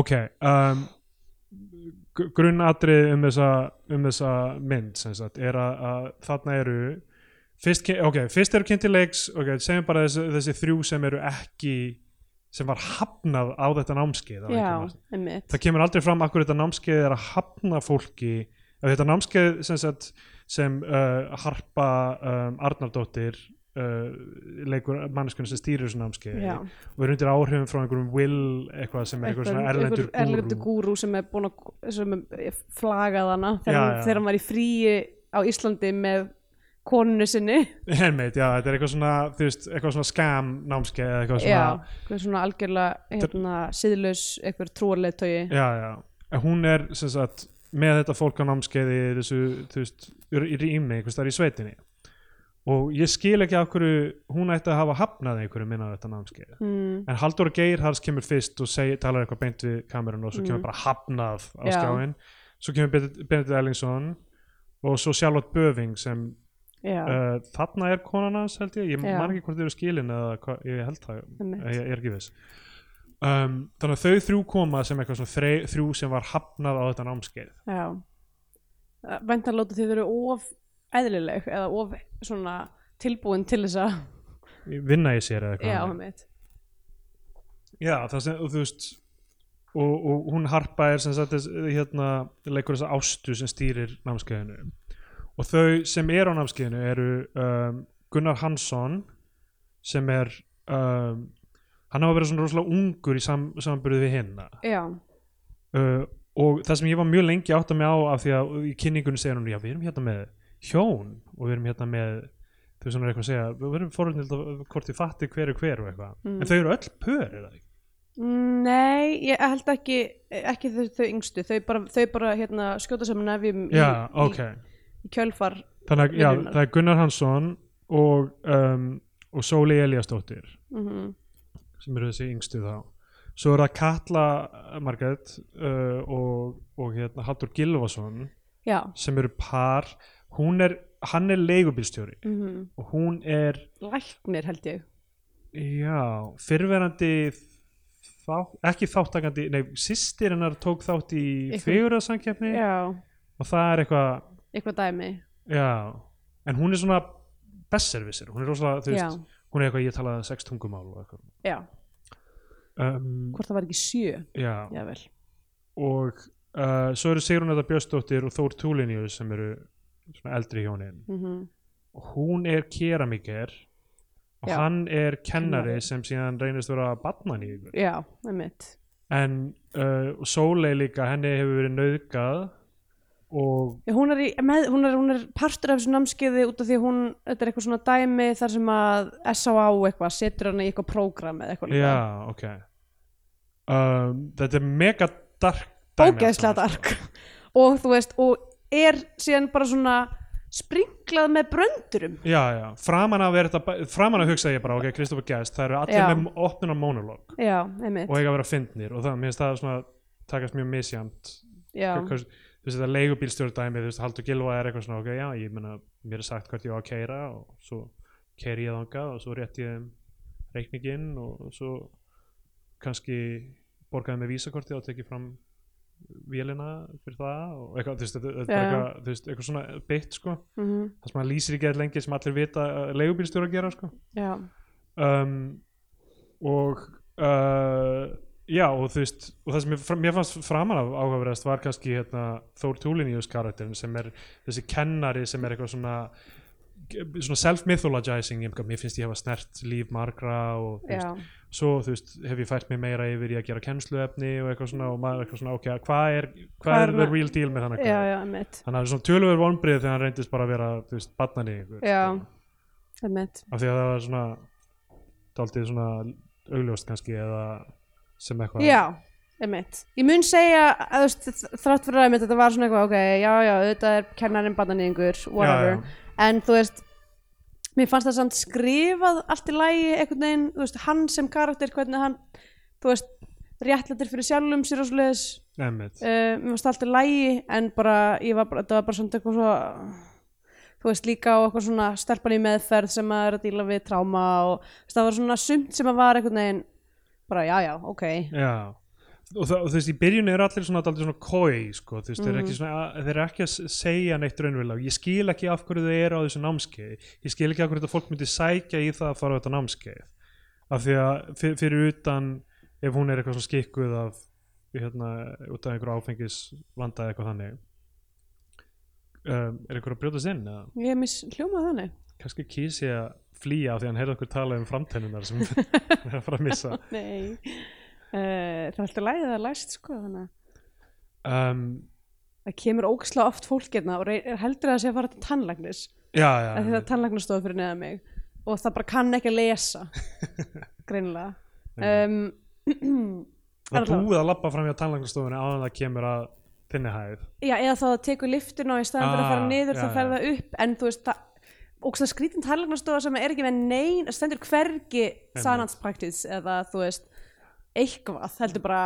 Speaker 2: ok um, gr- grunnatriði um þessa, um þessa mynd sem sagt, er að, að þarna eru fyrst, ke- ok, fyrst eru kynnti leiks ok, segjum bara þessi, þessi þrjú sem eru ekki sem var hafnað á þetta námskeið á einhvern hátt.
Speaker 1: já, einmitt
Speaker 2: það kemur aldrei fram akkur þetta námskeið er að hafna fólki að þetta námskeið sem, sagt, sem uh, Harpa um, Arnardóttir uh, leikur manneskun sem stýrir þessu námskeið
Speaker 1: já,
Speaker 2: og er undir áhrifum frá einhverjum Will eitthvað sem er eitthvað svona erlendur
Speaker 1: einhver erlendur
Speaker 2: gúrú
Speaker 1: gúrú sem er búin að sem er flagað hana þegar,
Speaker 2: Já,
Speaker 1: hann,
Speaker 2: já.
Speaker 1: þegar hann var í fríi á Íslandi með konunu sinni
Speaker 2: Hermeit, já, þetta er eitthvað svona, þú veist, eitthvað svona skam námskeið eða eitthvað svona
Speaker 1: já, hvað er svona algjörlega hérna, síðlaus einhver trúarleiðtögi
Speaker 2: já, já. En hún er sem sagt með þetta fólk á námskeiði í þessu, þú veist, í rými einhvers þar í sveitinni og ég skil ekki af hverju hún ætti að hafa hafnað einhverju minna á þetta námskeið
Speaker 1: mm,
Speaker 2: en Halldór Geirhars kemur fyrst og seg, talar eitthvað beint við kamerun og svo kemur bara hafnað á
Speaker 1: Mm. Já.
Speaker 2: skjáin svo kemur Benedikt Benedikt Ellingsson og svo Charlotte Böving sem
Speaker 1: já,
Speaker 2: uh, þarna er konan hans held ég, ég
Speaker 1: Já.
Speaker 2: man ekki hvort þau eru skilin eða hva, ég held það,
Speaker 1: Einmitt.
Speaker 2: Eh, ég, ég er ekki viss um, þannig að þau þrjú koma sem eitthvað svona þrei, þrjú sem var hafnað á þetta námskeið
Speaker 1: já vendan láta því þau eru of eðlileg eða of svona tilbúin til þess að
Speaker 2: vinna í sér eða
Speaker 1: já,
Speaker 2: eitthvað
Speaker 1: mitt
Speaker 2: þannig. já, það sem, og þú veist og, og hún harpa er sem sagt þess- hérna, leikur þessa ástu sem stýrir námskeiðinu og þau sem eru á námskeiðinu eru um, Gunnar Hansson sem er um, hann hafa verið svona rosalega ungur í sam, samanburði við hinna
Speaker 1: já,
Speaker 2: uh, og það sem ég var mjög lengi átt að mig á af því að í kynningunni segir hún já við erum hérna með hjón og við erum hérna með þau sem er eitthvað að segja við erum fórhundin hvort þið fatti hver er hver og eitthvað
Speaker 1: Mm.
Speaker 2: en þau eru öll pör er það ekki?
Speaker 1: nei ég held ekki, ekki þau, þau yngstu þau bara, þau bara hérna, skjóta saman nefjum
Speaker 2: já
Speaker 1: í,
Speaker 2: ok
Speaker 1: í, í kjölfar
Speaker 2: þannig að já,
Speaker 1: Vinnunnar.
Speaker 2: það er Gunnar Hansson og, um, og Sóli Eliasdóttir
Speaker 1: mm
Speaker 2: sem eru þessi yngstu þá svo er það Katla Margrét uh, og, og hérna Haldur Gilvason
Speaker 1: já,
Speaker 2: sem eru par hún er, hann er leigubílstjóri
Speaker 1: mm
Speaker 2: og hún er
Speaker 1: læknir held ég
Speaker 2: Já, fyrverandi þá, ekki þáttakandi, nei, sýstir hennar tók þátt í
Speaker 1: Eitthvað-
Speaker 2: fegurðarsamkeppni
Speaker 1: já,
Speaker 2: og það er eitthvað,
Speaker 1: eitthvað dæmi
Speaker 2: já, en hún er svona besservisir, hún er rosalega, þú
Speaker 1: já,
Speaker 2: veist, hún er eitthvað, ég talaði sex tungumál og eitthvað.
Speaker 1: já,
Speaker 2: Um,
Speaker 1: hvort það var ekki sjö
Speaker 2: já,
Speaker 1: já vel,
Speaker 2: og uh, svo eru Sigrun Edda Björnsdóttir og Þór Túlinju sem eru svona eldri hjónin.
Speaker 1: mm
Speaker 2: Og hún er keramiker og
Speaker 1: Já.
Speaker 2: hann er kennari,
Speaker 1: Kennari.
Speaker 2: sem síðan reynist vera barnan í ykkur.
Speaker 1: já, einmitt
Speaker 2: en uh, Sólei líka henni hefur verið nauðgað og
Speaker 1: Já, Hún er, í, með, hún, er, hún er partur af þessu námskeiði út af því að hún, þetta er eitthvað svona dæmi þar sem að S.A.A. eitthvað setur hana í eitthvað prógram eða eitthvað líka.
Speaker 2: já, ok um, þetta er mega dark dæmi
Speaker 1: Ógeðslega
Speaker 2: allt saman,
Speaker 1: dark. Og þú veist, og er síðan bara svona sprinklað með bröndurum.
Speaker 2: sko. já, já, framan af er þetta ba- framan af hugsaði ég bara, ok, Kristoffer Guest það eru allir
Speaker 1: Já.
Speaker 2: með opnuna monolog
Speaker 1: Já, einmitt.
Speaker 2: og eiga að vera fyndnir og það, mér finnst það svona takast mjög misjæmt
Speaker 1: já,
Speaker 2: Hvað- hvað- þú veist þetta leigubílstjóri dæmi þú veist Haldur Gilva er eitthvað svona ok já ég meina mér er sagt hvert ég á að keira og svo keiri ég þangað og svo rétt ég þeim reikninginn og svo kannski borgaði með vísakortið og tekið fram vélina fyrir það og eitthvað þú veist þetta þetta er bara
Speaker 1: Já, já.
Speaker 2: eitthvað, þú veist, eitthvað svona beitt sko
Speaker 1: mm
Speaker 2: það sem maður lýsir ekki eitthvað lengi sem allir vita að leigubílstjóri að gera sko
Speaker 1: já,
Speaker 2: um, og uh, já og þú veist og það sem mér, mér fannst framan af áhugaverðast var kannski hérna, Þór Túliníus karakterin sem er þessi kennari sem er eitthvað svona svona self-mythologizing ég- mér finnst ég hafa snert líf margra og þú
Speaker 1: já,
Speaker 2: veist, svo þú veist hef ég fært mér meira yfir í að gera kennsluefni og eitthvað svona og maður er eitthvað svona ok, hvað er,
Speaker 1: Hvað er
Speaker 2: hvað er the
Speaker 1: ma-
Speaker 2: real deal með þannig
Speaker 1: já, já, einmitt.
Speaker 2: þannig að það er svona tölugur vonbrið þegar hann reyndist bara að vera þú veist, sko. batnan í ykkur
Speaker 1: Já, einmitt.
Speaker 2: af því að það var svona daldið svona augljóst kannski eða sem eitthvað
Speaker 1: Já, einmitt. Ég mun segja að þú veist, þrátt fyrir að einmitt, þetta var svona eitthvað, ok, já, já, þetta er kennarinn bannaníðingur, whatever.
Speaker 2: já,
Speaker 1: en þú veist mér fannst það samt skrifað allt í lægi einhvern veginn, þú veist, hann sem karakter hvernig hann, þú veist réttlættir fyrir sjálfum sér og svoleiðis
Speaker 2: já, einmitt.
Speaker 1: uh, mér fannst allt í lægi en bara, ég var bara, þetta var bara samt eitthvað svo þú veist, líka á eitthvað svona stelpan í meðferð sem að er að díla við tráma og þú veist, það var svona sumt sem að var einhvern veginn bara, já, já, ok
Speaker 2: já. Og, það, og þú veist í byrjun eru allir svona daldið svona koi sko, þú veist, þeir, eru
Speaker 1: Mhm.
Speaker 2: ekki svona, þeir eru ekki að s- segja neitt raunverulega ég skil ekki af hverju þau eru á þessu námskeið ég skil ekki af hverju þetta fólk myndi sækja í það að fara á þetta námskeið af því að fyr- fyrir utan ef hún er eitthvað svona skikkuð af hérna, út af einhverju áfengis vandaði eitthvað þannig um, er einhverju að brjóta sinn eða?
Speaker 1: ég miss hljómað þannig
Speaker 2: kannski kýs ég að flýja af því að hann heyrði okkur tala um framtennunar sem hann er að fara að missa
Speaker 1: nei uh, það er alltaf lægið að læst sko þannig að
Speaker 2: um,
Speaker 1: það kemur ógislega oft fólk hérna og rey- heldur að það sé að fara til tannlagnis
Speaker 2: já, já,
Speaker 1: af því það er tannlagnastofa fyrir neða mig og það bara kann ekki að lesa greinilega um,
Speaker 2: það er
Speaker 1: Erla.
Speaker 2: búið að labba fram hjá tannlæknastofunni áðan það kemur að þinni hæð
Speaker 1: já, eða þá það tekur liftun og í staðan fyrir að fara
Speaker 2: Ah,
Speaker 1: niður
Speaker 2: já,
Speaker 1: þá fer
Speaker 2: já.
Speaker 1: það upp en þú veist það ógislega skrítin tannlagnastofa sem er ekki með nein stendur hvergi sananspraktis eða þú veist eitthvað, heldur bara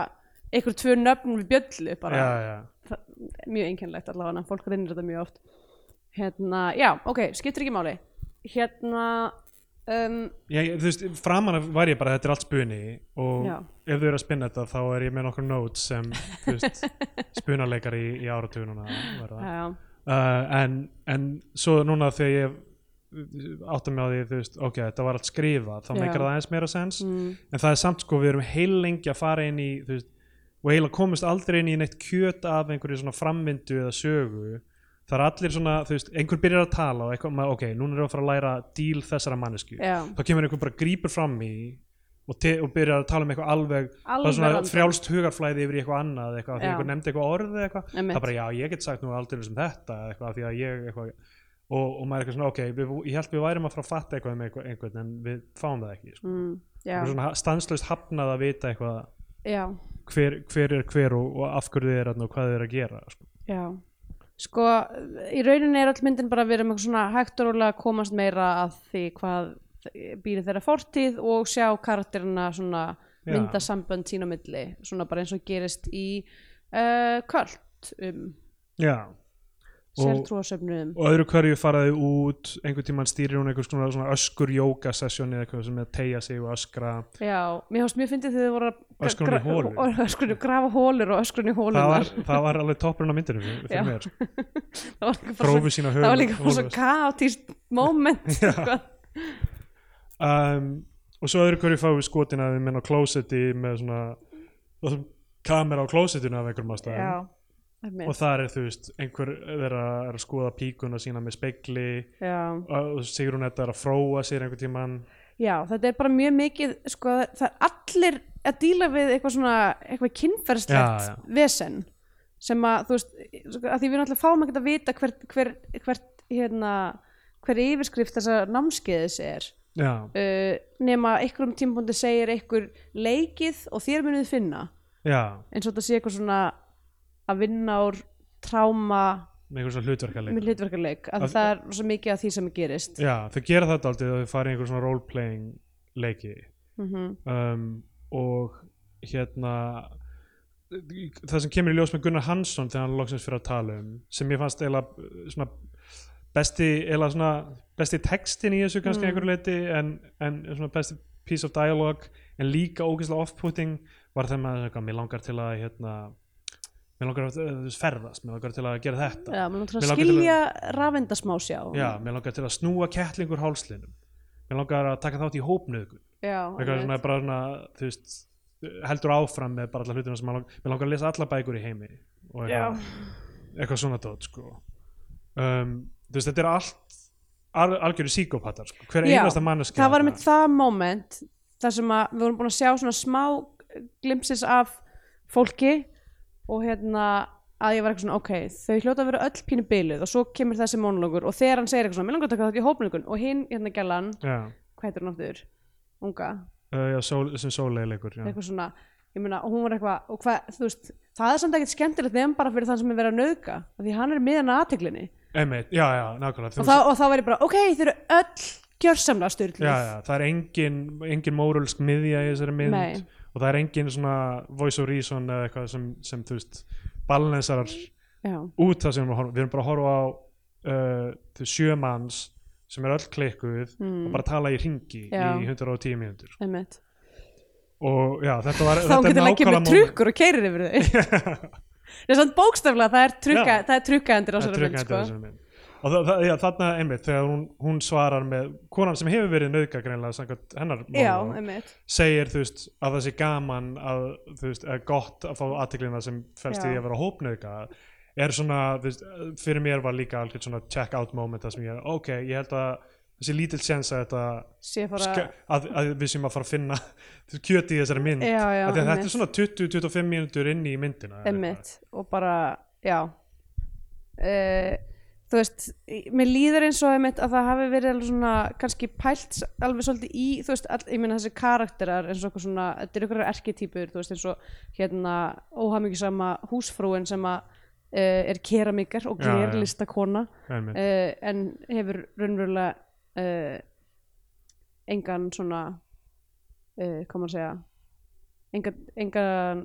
Speaker 1: einhver tvö nöfn við bjöllu bara
Speaker 2: já, já,
Speaker 1: það- mjög einkennlegt allavega fólk reynir þetta mjög oft hérna, já, ok, skiptir ekki máli hérna um,
Speaker 2: ég, þú veist, framan af var ég bara þetta er allt spuni og
Speaker 1: Já.
Speaker 2: ef þau eru að spinna þetta þá er ég með nokkur notes sem þú veist, spunarleikar í, í áratugununa verða Eh,
Speaker 1: já,
Speaker 2: uh, en, en svo núna þegar ég átta mig á því, þú veist, ok, þetta var allt skrifað þá
Speaker 1: Já.
Speaker 2: meikar það aðeins meira sens
Speaker 1: Mm.
Speaker 2: en það er samt sko, við erum heil lengi að fara inn í þú veist, og heila komist aldrei inn í neitt kjöt af einhverju svona framvindu eða sögu það er allir svona, þú veist, einhver byrjar að tala og eitthvað, maður, ok, núna erum við að fara að læra díl þessara mannesku,
Speaker 1: Já.
Speaker 2: þá kemur einhver bara grípur fram í og, te- og byrjar að tala um eitthvað alveg, það
Speaker 1: Alveg
Speaker 2: er svona
Speaker 1: random.
Speaker 2: frjálst hugarflæði yfir í eitthvað annað, eitthvað, af því
Speaker 1: Já.
Speaker 2: einhver nefndi eitthvað orð eða eitthvað
Speaker 1: Einmitt.
Speaker 2: það er bara já, ég get sagt nú aldrei sem þetta eitthvað, af því að ég eitthvað og, og maður er eitthvað svona, ok, við, ég held við værum að fara að fatta eitthvað um eitthvað, einhvern, en við fáum það ekki sko.
Speaker 1: mm. já.
Speaker 2: Eitthvað svona stanslust hafnað að vita eitthvað
Speaker 1: já,
Speaker 2: hver, hver er hver og, og af hverju þið er þarna og hvað þið er að gera sko.
Speaker 1: já sko, í rauninni er all myndin bara að vera með svona hægt og rólega að komast meira að því hvað býri þeirra fortíð og sjá karakterina svona
Speaker 2: Já.
Speaker 1: mynda sambönd sín á milli svona bara eins og gerist í uh, kvöld um
Speaker 2: já, Og-
Speaker 1: sértrúasöfnum
Speaker 2: og öðru hverju faraði út einhvern tímann stýrir hún einhvers konar svona öskur jóka sessjón eða eitthvað sem er að tegja sig og öskra
Speaker 1: Já, mér finnst mjög fyndið þegar þið voru að
Speaker 2: Öskrun í
Speaker 1: gra-
Speaker 2: holu.
Speaker 1: og- öskrun- grafa hólur og öskrun í hólum
Speaker 2: það var, það var alveg toppurinn á myndinu fyrir,
Speaker 1: Já.
Speaker 2: fyrir mér, sko.
Speaker 1: það var líka bara svo-
Speaker 2: grófu sína höfum
Speaker 1: það var líka bara svo kaotíst moment sko. eitthvað.
Speaker 2: um, og svo öðru hverju fáum við skotin að við menn á klósetti með svona það sem kamera á klósettinu af einhverjum ástæðum
Speaker 1: Já, einmitt.
Speaker 2: og þar er þú veist einhver vera er að skoða píkuna sína með spegli
Speaker 1: já,
Speaker 2: og Sigrun þetta er að fróa sér einhvern tímann
Speaker 1: já, þetta er bara mjög mikið sko, það er allir að díla við eitthvað svona, eitthvað kynferðslegt
Speaker 2: Já, já.
Speaker 1: vesen sem að, þú veist, sko, að því við náttúrulega fáum ekkert að vita hvert, hver, hvert hérna, hver yfirskrift þessa námskeiðis er
Speaker 2: já,
Speaker 1: uh, nema einhverjum tímpúndi segir einhver leikið og þér munið finna
Speaker 2: já,
Speaker 1: eins og þetta sé eitthvað svona að vinna úr tráma
Speaker 2: með einhver svona hlutverkaleik
Speaker 1: með hlutverkaleik að
Speaker 2: Af-
Speaker 1: það er rosa mikið af því sem gerist
Speaker 2: já, þau gera þetta aldrei þau fara í einhver svona roleplaying leiki
Speaker 1: mm
Speaker 2: um, og hérna það sem kemur í ljós með Gunnar Hansson þegar hann loksins fyrir að tala um sem ég fannst eiginlega uh, svona besti, eiginlega svona besti textin í þessu kannski
Speaker 1: Mm.
Speaker 2: mm. einhverju leiti en, en svona besti piece of dialogue en líka ógeðslega off-putting var þegar maður svona, mér langar til að hérna, mér langar að uh, ferðast mér langar til að gera þetta
Speaker 1: Já, mér langar
Speaker 2: Mig
Speaker 1: að
Speaker 2: langar
Speaker 1: skilja rafendasmásjá
Speaker 2: Já, mér langar til að snúa kettlingur hálslinum mér langar að taka þátt í hópnöðgun
Speaker 1: já,
Speaker 2: eitthvað svona
Speaker 1: einmitt.
Speaker 2: bara svona þú veist, heldur áfram með bara alla hlutina sem maður langar, mér langar að lesa alla bækur í heimi og eitthvað, eitthvað svona tótt sko. um, þú veist, þetta er allt al, algjöru síkópatar sko. hver
Speaker 1: Já,
Speaker 2: einasta manneski
Speaker 1: það var með það moment þar sem að við vorum búin að sjá svona smá glimpsis af fólki og hérna að ég var eitthvað svona ok, þau hljóta að vera öll pínu byluð og svo kemur þessi monologur og þegar hann segir eitthvað svona, mér langar að taka þetta í hópmölingun og hinn hérna gælan,
Speaker 2: já,
Speaker 1: hvað heitir hann aftur unga,
Speaker 2: uh, já, sól, sem sóleileikur já.
Speaker 1: eitthvað svona ég meina, og hún var eitthvað, og hvað, þú veist það er samt ekkert skemmtilegt nefn bara fyrir þann sem er verið að nauðka af því hann er miðan að aðteglinni
Speaker 2: Einmitt, já, já, nákvæmlega
Speaker 1: og,
Speaker 2: þú,
Speaker 1: þá- og þá var ég bara, ok, þau eru öll gjörsamlega
Speaker 2: já,
Speaker 1: styrklið
Speaker 2: já, það er engin, engin mórulsk miðja í þessari mynd
Speaker 1: Nei.
Speaker 2: og það er engin svona voice of reason eða eitthvað sem, sem þú veist balansarar
Speaker 1: já,
Speaker 2: út það sem við erum að horfa við erum bara að horfa á uh, þau sjö manns sem er öll klikkuð og bara tala í ringi
Speaker 1: Já.
Speaker 2: í 110 mínútur
Speaker 1: mm, einmitt
Speaker 2: og já, þetta var
Speaker 1: þá
Speaker 2: þetta er
Speaker 1: getur hann
Speaker 2: nákvæmlega
Speaker 1: kemur trukkur og keirir yfir þau það er svona bókstaflega það er, trukka,
Speaker 2: Já.
Speaker 1: það er trukkaendir á
Speaker 2: moment-
Speaker 1: sér mynd
Speaker 2: trukkaði
Speaker 1: sko.
Speaker 2: þessari mynd. og það, það, já, þarna einmitt þegar hún, hún svarar með konan sem hefur verið nauðga greinlega samkvæmt hennar
Speaker 1: já,
Speaker 2: monolog,
Speaker 1: einmitt
Speaker 2: segir þú veist að það sé gaman að þú veist að gott að fá aðteklina sem fælst í
Speaker 1: Já.
Speaker 2: að vera hópnauka er svona, þú veist, fyrir mér var líka algjörn svona check out moment það sem ég, ok, ég held að þessi lítill séns að þetta
Speaker 1: sé bara
Speaker 2: ske- að, að við séum að fara að finna kjöti í þessari mynd
Speaker 1: Já, já,
Speaker 2: Af því að þetta
Speaker 1: einmitt.
Speaker 2: er svona 20-25 mínútur inn í myndina eða
Speaker 1: einmitt og bara, já uh, þú veist í- mér líður eins og einmitt að það hafi verið alveg svona kannski pælt s- alveg svolítið í þú veist, all, ég meina þessi karakterar eins og okkur svona, þetta eru ykkur erketýpur þú veist eins og hérna óhamingisama húsfrúin sem að uh, er keramikar og
Speaker 2: Já, já.
Speaker 1: glerlistakona
Speaker 2: eitthvað. Einmitt.
Speaker 1: uh, en hefur raunverulega uh, engan svona uh, hvað maður að segja engan, engan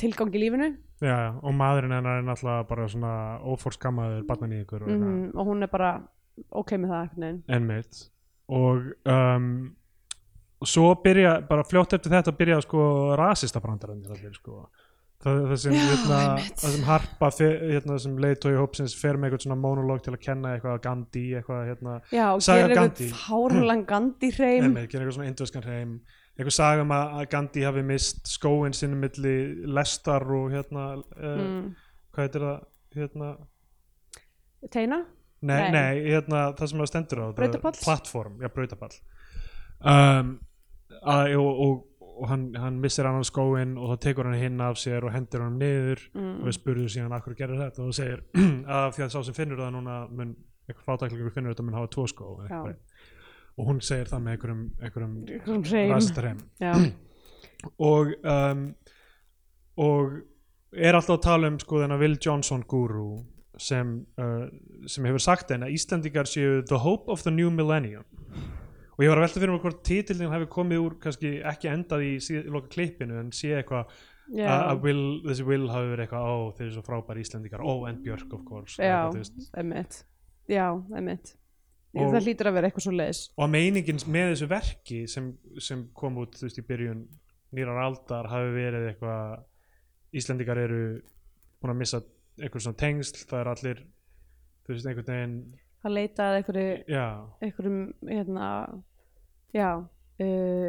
Speaker 1: tilgang í lífinu
Speaker 2: Já, já, og maðurinn hennar er náttúrulega bara svona ófórskammaður barnan í ykkur og hérna
Speaker 1: mm
Speaker 2: eitthvað.
Speaker 1: og hún er bara ok með það einhvern veginn
Speaker 2: Einmitt og um, og svo byrja, bara fljótt eftir þetta byrja sko rasista brandarannir allir sko það, það sem,
Speaker 1: Já,
Speaker 2: hérna,
Speaker 1: einmitt.
Speaker 2: það sem harpa fer, hérna, sem leiðtói hópsins fer með eitthvað svona monolog til að kenna eitthvað að Gandhi eitthvað hérna,
Speaker 1: Já, og
Speaker 2: Saga
Speaker 1: gerir
Speaker 2: Gandhi.
Speaker 1: eitthvað fárlan Gandhi hreim
Speaker 2: einmitt, gera eitthvað svona indverskan heim eitthvað saga um að að Gandhi hafi mist skóin sinni milli lestar og hérna uh,
Speaker 1: mm.
Speaker 2: hvað heitir það hérna
Speaker 1: Teina?
Speaker 2: Nei,
Speaker 1: Nei.
Speaker 2: nei, hérna, það sem það stendur á það er
Speaker 1: Brautarpalls?
Speaker 2: Platform, já, brautapall um, að, og, og, og hann, hann missir annan skóinn og þá tekur hann hinn af sér og hendir hann niður og
Speaker 1: Mm.
Speaker 2: við spurðum síðan akkur gerir þetta og þú segir að því að sá sem finnur það núna mun, eitthvað fátæklingur finnur þetta mun hafa tvo skó eða
Speaker 1: Já.
Speaker 2: eitthvað. og hún segir það með einhverjum, einhverjum
Speaker 1: Einhverjum hreim.
Speaker 2: rastarheim
Speaker 1: Já,
Speaker 2: og um, og er alltaf að tala um sko þennan Will Johnson guru sem, uh, sem hefur sagt henni að Íslendingar séu the hope of the new millennium og ég var að velta fyrir mig hvort titillin hefur komið úr kannski ekki endað í síð, loka klippinu en sé eitthvað
Speaker 1: já.
Speaker 2: að að Will, þessi Will hafi verið eitthvað ó þeir eru svo frábæri Íslendingar, ó en Björk of course
Speaker 1: Já.
Speaker 2: Eitthvað, þú veist.
Speaker 1: Emmett Já, Emmett Ég,
Speaker 2: Og-
Speaker 1: Það hlýtur að vera eitthvað svo leiðis
Speaker 2: og að meiningin með þessu verki sem, sem kom út þú veist í byrjun nýrar aldar hafi verið eitthvað Íslendingar eru búin að missa eitthvað svona tengsl, það er allir þú veist einhvern veginn
Speaker 1: Það leitaði einhverju,
Speaker 2: já,
Speaker 1: einhverjum hérna, já uh,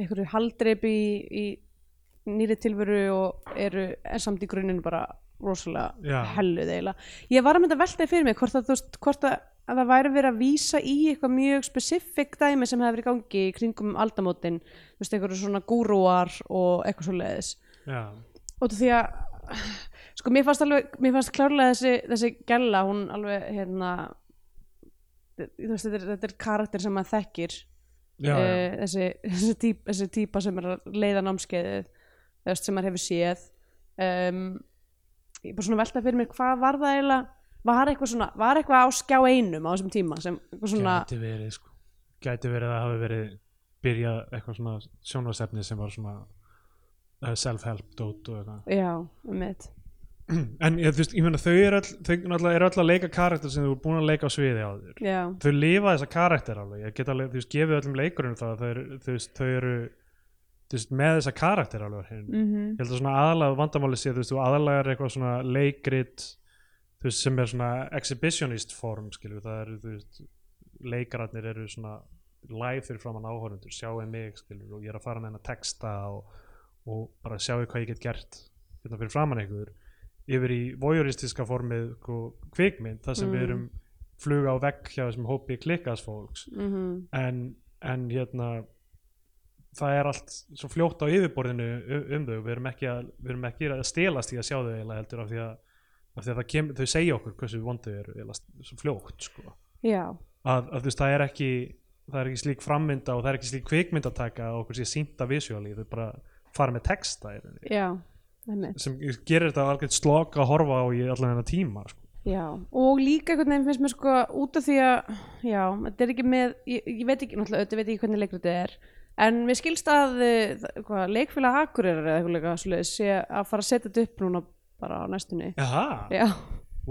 Speaker 1: einhverju haldreipi í, í nýri tilveru og eru en samt í grunninn bara rosalega
Speaker 2: Já.
Speaker 1: helluð eiginlega Ég var að mynda að velta því fyrir mig hvort að, þú veist, hvort að, að það væri verið að vísa í eitthvað mjög spesifik dæmi sem hefur verið í gangi í kringum aldamótin, þú veist, einhverju svona gúrúar og eitthvað svo leiðis
Speaker 2: já,
Speaker 1: út af því að sko mér fannst alveg, mér fannst klárlega þessi, þessi gælla, hún alveg hérna þú veist, þetta er, þetta er karakter sem maður þekkir
Speaker 2: já, já.
Speaker 1: eh, þessi, þessi, típ, þessi típa sem er að leiða námskeiðið þú veist, sem maður hefur séð um, ég er bara svona að velta fyrir mér hvað var það eiginlega var eitthvað, svona, var eitthvað á skjá einum á þessum tíma sem eitthvað svona
Speaker 2: gæti verið sko gæti verið að það hafi verið byrjað eitthvað svona sjónvarsefni sem var svona uh, self-help dót og eitthvað
Speaker 1: já, um mitt
Speaker 2: en ég, þú veist, ég meina þau eru all, þau náttúrulega eru all að leika karakter sem þú er búin að leika á sviði á þér
Speaker 1: já,
Speaker 2: þau lifa þessa karakter alveg ég get alveg, þú veist, gefið öllum leikurinn um það þau, eru- þú veist, þau eru þú veist, með þessa karakter alveg hinn.
Speaker 1: mm -hmm.
Speaker 2: ég held að svona aðalega vandamáli sé þú veist, þú aðalega er eitthvað svona leikrit þú veist, sem er svona exhibitionist form, skilju, það eru þú veist, leikararnir eru svona live fyrir framann áhorundur, sjáu mig skilju, og ég er að fara með hennar texta og, og bara sjáu hvað ég get gert hérna fyrir framann einhver yfir í voyeuristiska formið sko, kvikmynd, það sem við
Speaker 1: Mm.
Speaker 2: erum fluga á vegg hjá þessum hópi klikkaðs fólks
Speaker 1: Mm -hmm.
Speaker 2: en, en hérna það er allt svo fljótt á yfirborðinu um, um þau, við erum, ekki að, við erum ekki að stelast í að sjá þau eiginlega heldur af því að, af því að það kem, þau segja okkur hversu vond þau eru eiginlega st- svo fljótt sko.
Speaker 1: já,
Speaker 2: að, að þú veist það er ekki það er ekki slík frammynda og það er ekki slík kvikmyndataka og okkur sé sýnta visjóli þau bara fara með texta í rauninni.
Speaker 1: já, um mitt
Speaker 2: sem gerir þetta algjörn slokk að horfa á í allan þennan tíma sko.
Speaker 1: Já, og líka einhvern veginn finnst mér sko út af því að, já, þetta er ekki með, ég, ég veit ekki, náttúrulega, auðvitað veit ég ekki hvernig leikrit þetta er, en mér skilst að eh, það- hvað, leikfélag Akureyrar eða eitthvað leika svoleiðis sé að fara að setja þetta upp núna bara á næstunni.
Speaker 2: Jaha,
Speaker 1: Já,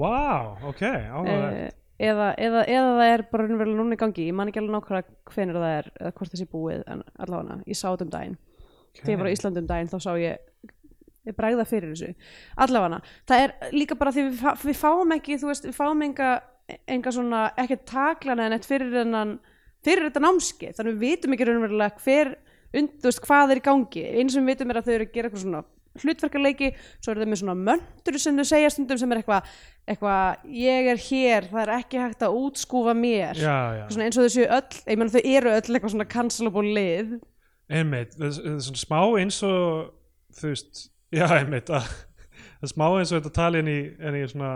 Speaker 2: wow, ok áhugavert.
Speaker 1: eh, eða, eða, eða það er bara raunverulega núna í gangi, ég man ekki alveg nákvæmlega hvenær það er eða hvort þessi búið, en allavega, ég sá þetta um daginn þegar ég var á Íslandum daginn þá sá ég ég bregða fyrir þessu allavega, það er líka bara því við, fá- við fáum ekki, þú veist, við fáum enga, enga svona, ekki taklana en eitt fyrir þennan, fyrir þetta námski þannig við vitum ekki raunverulega hver und, þú veist, hvað er í gangi, eins sem við vitum er að þau eru að gera eitthvað svona hlutverkaleiki svo eru þau með svona möndur sem þau segja stundum sem er eitthvað, eitthvað ég er hér, það er ekki hægt að útskúfa mér,
Speaker 2: já, já.
Speaker 1: svona eins og þau séu öll ég meina þau eru öll eitthvað svona cancelable lið
Speaker 2: einmitt, það það er svona smá eins og þú veist, já einmitt að, það er smá eins og þetta tali en í, en í svona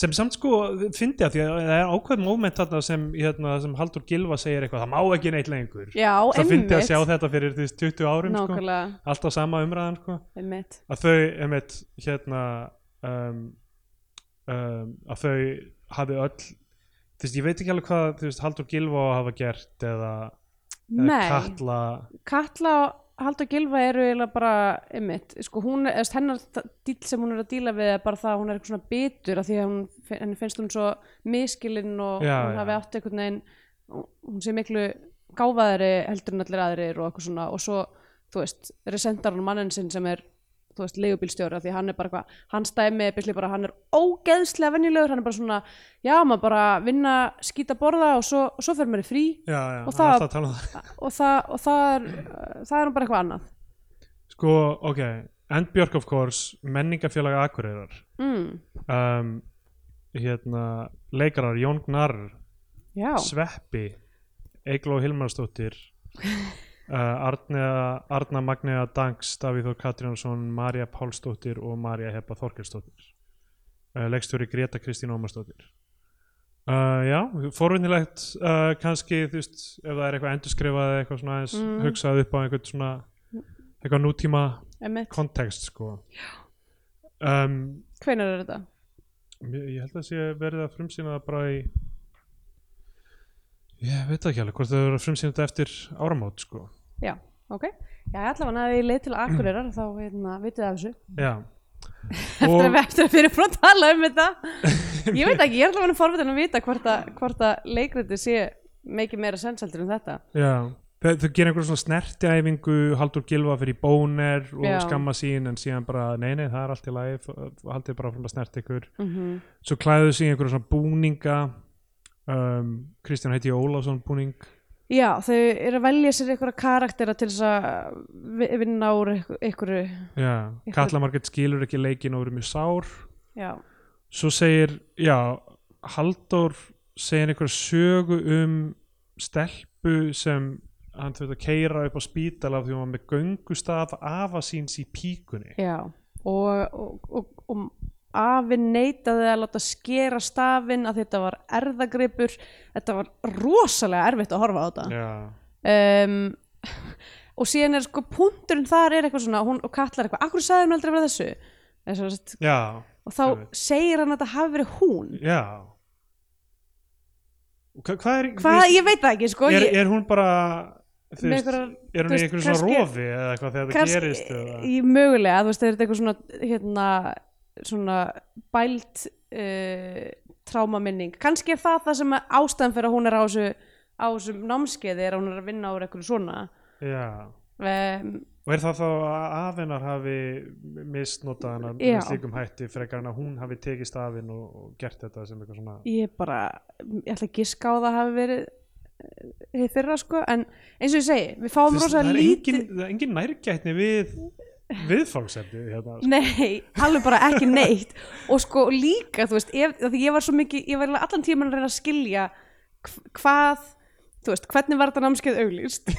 Speaker 2: sem samt sko fyndi að því að það er ákveð moment þarna sem, hérna, sem Haldur Gilva segir eitthvað, það má ekki neitt lengur
Speaker 1: já,
Speaker 2: það fyndi að
Speaker 1: einmitt
Speaker 2: sjá þetta fyrir því 20 árum sko,
Speaker 1: Nákvæmlega,
Speaker 2: alltaf sama umræðan sko,
Speaker 1: einmitt
Speaker 2: að þau einmitt hérna um, um, að þau hafi öll þú veist, ég veit ekki alveg hvað þú veist, Haldur Gilva hafa gert eða, eða
Speaker 1: Nei, Katla,
Speaker 2: Katla
Speaker 1: og Haldur Gilva eru eiginlega bara, einmitt sko, hún, eða þú veist, hennar þa- díll sem hún er að díla við er bara það að hún er eitthvað svona bitur af því að hún, henni finnst hún svo miskilinn og
Speaker 2: Já,
Speaker 1: hún
Speaker 2: já.
Speaker 1: hafi átt einhvern veginn hún sé miklu gáfaðari heldur en allir aðrir og eitthvað svona og svo, þú veist, resentar hún manninn sinn sem er þú þú veist, leigubílstjóra því hann er bara eitthvað, hans dæmi er basically bara hann er ógeðslega venjulegur, hann er bara svona já, maður bara vinna, skýta borða og svo, og svo fer maður í frí
Speaker 2: já, já,
Speaker 1: Og
Speaker 2: hann er
Speaker 1: það-
Speaker 2: alltaf að tala um það
Speaker 1: og það, og það er það er nú bara eitthvað annað
Speaker 2: sko, ok, Endbjörg of course menningafélaga Akureyrar
Speaker 1: mm,
Speaker 2: um, hérna, leikarar Jón Gnarr
Speaker 1: já,
Speaker 2: Sveppi Eigló Hilmarsdóttir uh, Arna, Arna Magnea Danks, Davíð Þór Katrínarsson Marja Pálsdóttir og Marja Heppa Þorkelsdóttir uh, leikstjóri Greta Kristín Ómarsdóttir uh, Já, forvinnilegt uh, kannski, þú veist, ef það er eitthvað endurskrifað eða eitthvað svona aðeins
Speaker 1: Mm.
Speaker 2: hugsað upp á einhvern svona eitthvað nútíma
Speaker 1: emmitt,
Speaker 2: kontekst sko um,
Speaker 1: hvenær er þetta?
Speaker 2: Ég ég held að sé verið að frumsýna það bara í ég veit það ekki alveg hvort það verið að frumsýna þetta eftir áramót sko
Speaker 1: Já, ok Já, allavega að ég leið til Akureyrar þá hérna, vitið af þessu
Speaker 2: já
Speaker 1: eftir að,
Speaker 2: og,
Speaker 1: við- eftir að fyrir frá að tala um þetta Ég veit ekki, ég er allavega forvitin að vita hvort að, hvort að leikriti sé mikið meira sensaldur en þetta
Speaker 2: já, þau, þau gerir einhverjum svona snertiæfingu Haldur Gilva fyrir í bóner og
Speaker 1: Já.
Speaker 2: skamma sín en síðan bara nei nei það er allt í lagi f- haldið bara frá að snerti ykkur
Speaker 1: mm -hmm.
Speaker 2: svo klæðu sig í einhverjum svona búninga um, Kristján heiti Ólafsson búning
Speaker 1: Já, þau eru að velja sér einhverja karaktera til þess að vi- vinna úr einhver- einhverju
Speaker 2: já,
Speaker 1: Einhver-
Speaker 2: Katla Margrét skilur ekki leikin og verið mjög sár
Speaker 1: Já,
Speaker 2: svo segir, já Halldór segir einhverja sögu um stelpu sem hann þurfti að keira upp á spítala af því hún var með göngustaf afa síns í píkunni
Speaker 1: já og, og, og, og afi neitaði að láta skera stafinn að þetta var erðagripur þetta var rosalega erfitt að horfa á þetta
Speaker 2: já,
Speaker 1: um, og síðan er sko punkturinn þar er eitthvað svona hún, og kallar eitthvað, akkur sagði hún aldrei frá þessu En svo, sett,
Speaker 2: já,
Speaker 1: og þá
Speaker 2: Einmitt.
Speaker 1: segir hann að þetta hafi verið hún
Speaker 2: já. Hva, hvað er,
Speaker 1: hvað, ég veit það ekki sko
Speaker 2: er,
Speaker 1: ég,
Speaker 2: er hún bara þú
Speaker 1: Með
Speaker 2: veist,
Speaker 1: einhverjar-
Speaker 2: er
Speaker 1: þú
Speaker 2: hún í
Speaker 1: veist,
Speaker 2: einhverju svona
Speaker 1: kannski-
Speaker 2: rofi eða eitthvað þegar það gerist eða?
Speaker 1: í, mögulega, þú veist, er þetta eitthvað svona hérna, svona bælt uh, trámaminning kannski er það það sem að ástæðan fyrir að hún er á þessu á þessum námskeiði er að hún er að vinna úr eitthvað svona
Speaker 2: já
Speaker 1: um,
Speaker 2: Og er það þá að afinnar hafi misnotað hana með
Speaker 1: Já.
Speaker 2: slíkum hætti frekar en að hún hafi tekist afinn og, og gert þetta sem eitthvað svona
Speaker 1: ég bara, ég ætla að giska á það hafi verið eh, hið fyrra sko, en eins og ég segi við fáum
Speaker 2: Þess-
Speaker 1: rosa
Speaker 2: það, er
Speaker 1: lítið
Speaker 2: engin, það er engin nærgætni við viðfangsefni hérna, sko.
Speaker 1: nei, alveg bara ekki neitt og sko líka, þú veist ef, af því ég var svo mikið, ég var eiginlega allan tíman að reyna að skilja hv- hvað þú veist, hvernig var þetta námskeið auglýst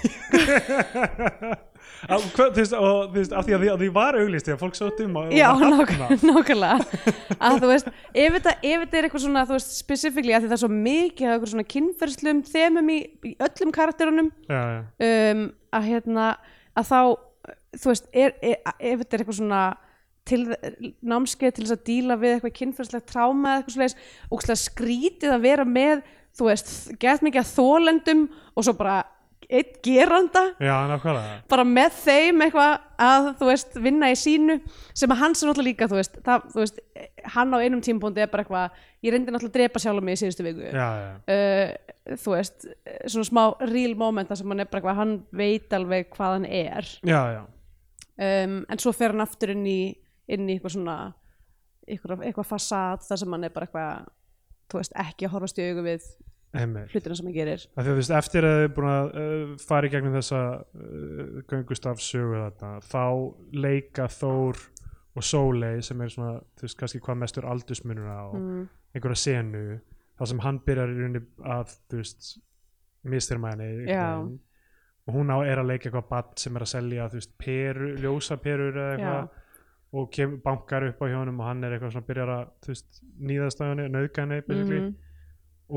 Speaker 2: Að- hvað- þú veist, og þú veist, af því að því, að því var auglýst því að fólk sótt um að
Speaker 1: já,
Speaker 2: að hafna.
Speaker 1: nák- nákvæmlega að þú veist, ef þetta, ef þetta er eitthvað svona þú veist, specifíkli, að því það er svo mikið af eitthvað svona kynferðslum, þemum í, í öllum karakterunum
Speaker 2: já, já.
Speaker 1: um, að hérna að þá þú veist, er, er, ef þetta er eitthvað svona til, námskeið til þess að díla við eitthvað kynferðslegt tráma eða eitthvað svoleiðis og skrítið að vera með þú veist, gett mikið að þólendum og svo bara eitt geranda
Speaker 2: já, nákvæmlega
Speaker 1: bara með þeim eitthvað að þú veist vinna í sínu sem að hans er náttúrulega líka þú veist, það, þú veist hann á einum tímpúndi er bara eitthvað ég reyndi náttúrulega að drepa sjálf mig í síðustu viku
Speaker 2: já, já.
Speaker 1: uh, þú veist, eh, svona smá real momenta sem hann er bara eitthvað, hann veit alveg hvað hann er
Speaker 2: já, já,
Speaker 1: um, en svo fer hann aftur inn í, inn í eitthvað svona eitthvað, eitthvað fasad þar sem hann er bara eitthvað þú veist, ekki að horfast í augu við
Speaker 2: heimir
Speaker 1: hlutina sem hann gerir
Speaker 2: Af því að þú veist, eftir að þið er búin að uh, fara í gegnum þessa uh, göngustafsögu þarna, þá leika Þór og Sóley sem er svona, þú veist, kannski hvað mestur aldursmunur á,
Speaker 1: mm.
Speaker 2: einhverja senu þar sem hann byrjar í rauninni að, þú veist, misþyrma henni einhvern
Speaker 1: Já.
Speaker 2: veginn. og hún á er að leika eitthvað bann sem er að selja, þú veist, peru, ljósa perur eða eitthvað og kem, bankar upp á hjónum og hann er eitthvað svona byrjar að, þú veist, nýðast á henni, nauðga henni, basically
Speaker 1: Mhm.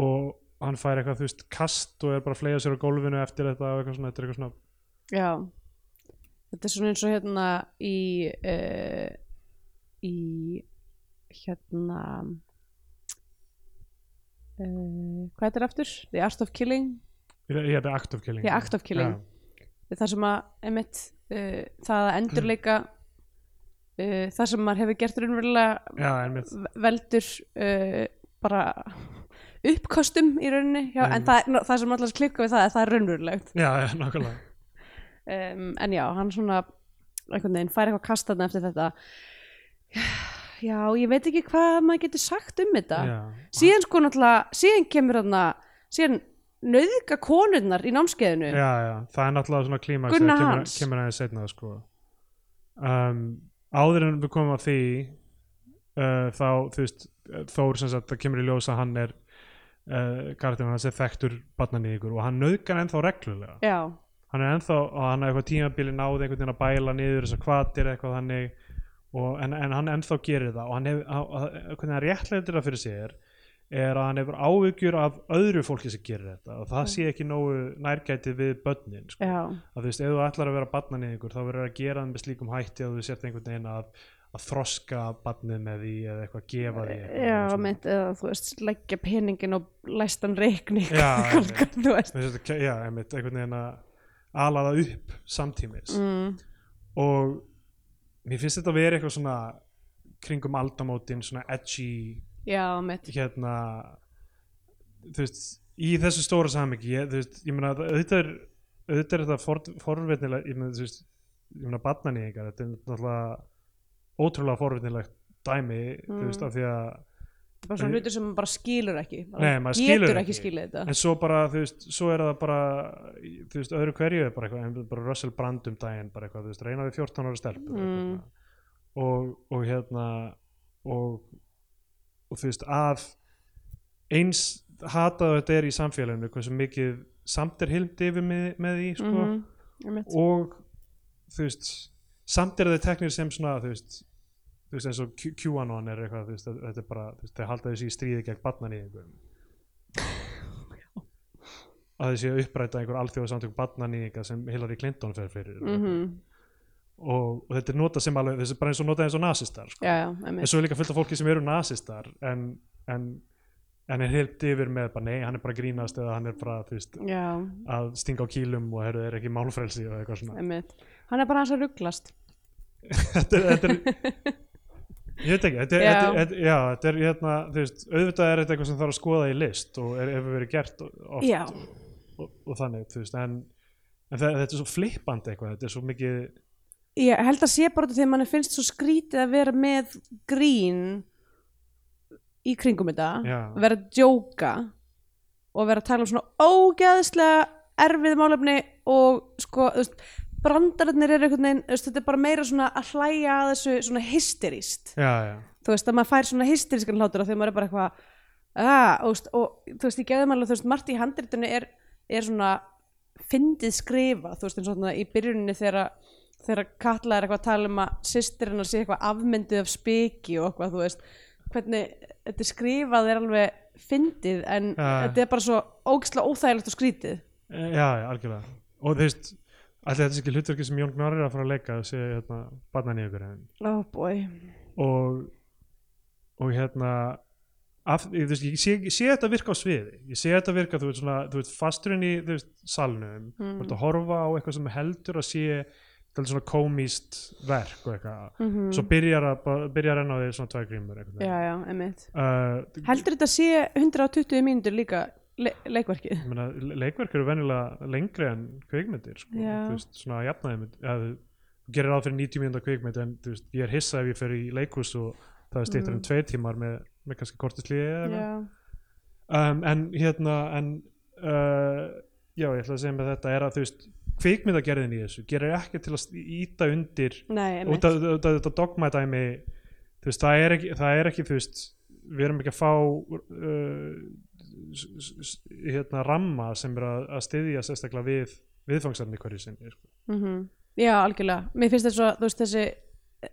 Speaker 2: og hann fær eitthvað þú veist kast og er bara að flega sér á gólfinu eftir þetta og eitthvað svona, þetta er eitthvað svona
Speaker 1: já þetta er svona eins og hérna í uh, í hérna uh, hvað þetta er aftur? The Art of Killing
Speaker 2: ég, ég, þetta er act of killing
Speaker 1: Já, act of killing. það sem að emitt, uh, það að endurleika uh, það sem maður hefur gert raunverulega
Speaker 2: já, já, einmitt,
Speaker 1: veldur uh, bara uppkostum í rauninni já, en
Speaker 2: Einmitt.
Speaker 1: það, ná, það sem allars klikka við það er það er raunverulegt
Speaker 2: já, já, nákvæmlega
Speaker 1: um, en já, hann svona einhvern veginn, fær eitthvað kastaðna eftir þetta já, ég veit ekki hvað maður getur sagt um þetta
Speaker 2: já,
Speaker 1: síðan sko náttúrulega, síðan kemur þarna síðan nöðga konurnar í námskeiðinu
Speaker 2: já, já, það er náttúrulega svona klíma
Speaker 1: Gunnar
Speaker 2: kemur,
Speaker 1: Hans.
Speaker 2: kemur aðeins setna sko. um, áður en við komum að því uh, þá þú veist Þór sem sagt, það kemur í ljós að hann er uh, karakterinn hans er þekktur barnan í ykkur og hann nöðgar ennþá reglulega
Speaker 1: já,
Speaker 2: hann er ennþá og hann er eitthvað tímabili náði einhvern veginn að bæla niður þessar kvatir eitthvað þannig og, en, en hann ennþá gerir það og hann hef, að, að, hvernig hann réttlætir það fyrir sér er að hann hefur áhyggjur af öðru fólki sem gerir þetta og það
Speaker 1: Mm.
Speaker 2: sé ekki nógu nærgætið við börnin sko.
Speaker 1: já,
Speaker 2: að þú veist, ef þú ætlar að vera barnaníðingur þá verður að gera það með slíkum hætti að þú sért einhvern veginn að, að þroska barnið með því eða eitthvað gefa því eitthvað
Speaker 1: já
Speaker 2: svona.
Speaker 1: meint eða þú veist, leggja peningin og læstan reikning
Speaker 2: Já, einmitt.
Speaker 1: þú veist
Speaker 2: Þú veist, já, einmitt, einhvern veginn að ala það upp samtímis
Speaker 1: mm,
Speaker 2: og mér finnst þetta að vera eitthvað svona kringum aldamótin svona edgy
Speaker 1: já, meint
Speaker 2: hérna þú veist, í þessu stóra samhengi ég, þú veist, ég meina auðvitað er auðvitað er þetta for, forvitnilega ég meina, þú veist, ég meina barnaníðingar þetta er náttúrulega ótrúlega forvitnilegt dæmi, þú
Speaker 1: Mm.
Speaker 2: veist, af því að
Speaker 1: bara svona hlutur sem maður bara skilur ekki bara
Speaker 2: Nei, maður skilur
Speaker 1: getur
Speaker 2: ekki.
Speaker 1: ekki skilið þetta
Speaker 2: en svo bara, þú veist, svo er það bara þú veist, öðru hverju er bara eitthvað en bara Russell Brand um daginn, bara eitthvað, þú veist, reyna við 14 ára stelpu
Speaker 1: Mm.
Speaker 2: og, og hérna og, og þú veist, af eins hataðu þetta er í samfélaginu, hversu mikið samt er hildi yfir með, með því sko,
Speaker 1: Mhm, einmitt.
Speaker 2: og þú veist, samt er þeir teknir sem svona, þú veist þú veist, eins og Q- QAnon er eitthvað þú veist, að- þetta er bara, þú veist, þeir halda þessi í stríði gegn barnaníðingum að þessi að uppræta einhver alþjóðsamtök barnaníðinga sem Hillary Clinton fer fyrir
Speaker 1: Mhm,
Speaker 2: og, og þetta er notað sem alveg, þessi er bara eins og notað eins og nasistar sko.
Speaker 1: já, já, einmitt.
Speaker 2: en svo er líka fullt af fólki sem eru nasistar en, en, en er heilt yfir með bara, nei, hann er bara að grínast eða hann er bara, þú veist,
Speaker 1: já,
Speaker 2: að stinga á kýlum og heyrðu, er ekki málfrelsi og eitthvað svona
Speaker 1: einmitt hann er bara aðeins að rugglast
Speaker 2: þetta er, þetta er ég veit ekki, þetta er,
Speaker 1: Já.
Speaker 2: þetta er, þetta er, já, þetta er hérna, þú veist, auðvitað er þetta eitthvað sem þarf að skoða í list og er, hefur verið gert oft
Speaker 1: já,
Speaker 2: og, og þannig, þú veist, en, en það, þetta er svo flippandi eitthvað, þetta er svo mikið
Speaker 1: ég held að sé bara út af því að mann finnst svo skrítið að vera með grín í kringum þetta
Speaker 2: já,
Speaker 1: vera að djóka og vera að tala um svona ógeðslega erfið málefni og sko, þú veist brandararnir eru einhvern veginn, þú veist, þetta er bara meira svona að hlæja að þessu svona hysterist
Speaker 2: já, já,
Speaker 1: þú veist að maður fær svona hysterískan hlátur og þegar maður er bara eitthvað ah, og, veist, og þú veist, ég gefði maður alveg, þú veist, margt í handritinu er, er svona fyndið skrifa, þú veist, eins og þarna í byrjuninni þegar að- þegar að Katla er eitthvað að tala um að systir hennar sé eitthvað afmyndið af speki og eitthvað, þú veist hvernig þetta er skrifað er alveg fyndið en
Speaker 2: Já.
Speaker 1: þetta er bara svo ógislega óþægilegt og skrítið
Speaker 2: já, já, algjörlega og þú veist, alltaf þetta er ekki hlutverki sem Jón Gnarr er að fara að leika að segja, hérna, barnan í ykkur
Speaker 1: oh boy,
Speaker 2: og og hérna af, ég, þú veist, ég, sé, ég sé þetta virka á sviði ég sé þetta virka, þú veist, svona, þú veist fasturinn í þú veist, salnum
Speaker 1: Mm.
Speaker 2: þú veist að horfa á eitthvað sem heldur að sé þetta svona komíst verk og eitthvað,
Speaker 1: Mhm.
Speaker 2: svo byrjar að bara- byrjar enn á því svona tvær grímur eitthvað
Speaker 1: já já, emmitt
Speaker 2: uh,
Speaker 1: heldur þetta sé 120 mínútur líka le leikverkið
Speaker 2: ég meina, le- leikverk eru venjulega lengri en kvikmyndir sko,
Speaker 1: Já.
Speaker 2: þú veist, svona að jafnaði mynd, að, þú gerir ráð fyrir 90 mínúnda kvikmynd en þú veist, ég er hissa ef ég fer í leikhús og það er stýttur
Speaker 1: Mm.
Speaker 2: en tveir tímar með, með kannski kortisliði eða eitthvað.
Speaker 1: já,
Speaker 2: um, en hérna en, uh, já, ég ætla að segja með þetta er að þú veist, kvikmyndagerðin í þessu gerir ekki til að íta undir
Speaker 1: nei, emmitt
Speaker 2: út af út af þetta dogma dæmi þú veist, það er ekki, það er ekki þú veist, við erum ekki að fá uh, s- s- s- hérna ramma sem er að, að styðja sérstaklega við viðfangsefni hverju sinni sko.
Speaker 1: mm Já, algjörlega. Mér finnst þess að veist, þessi,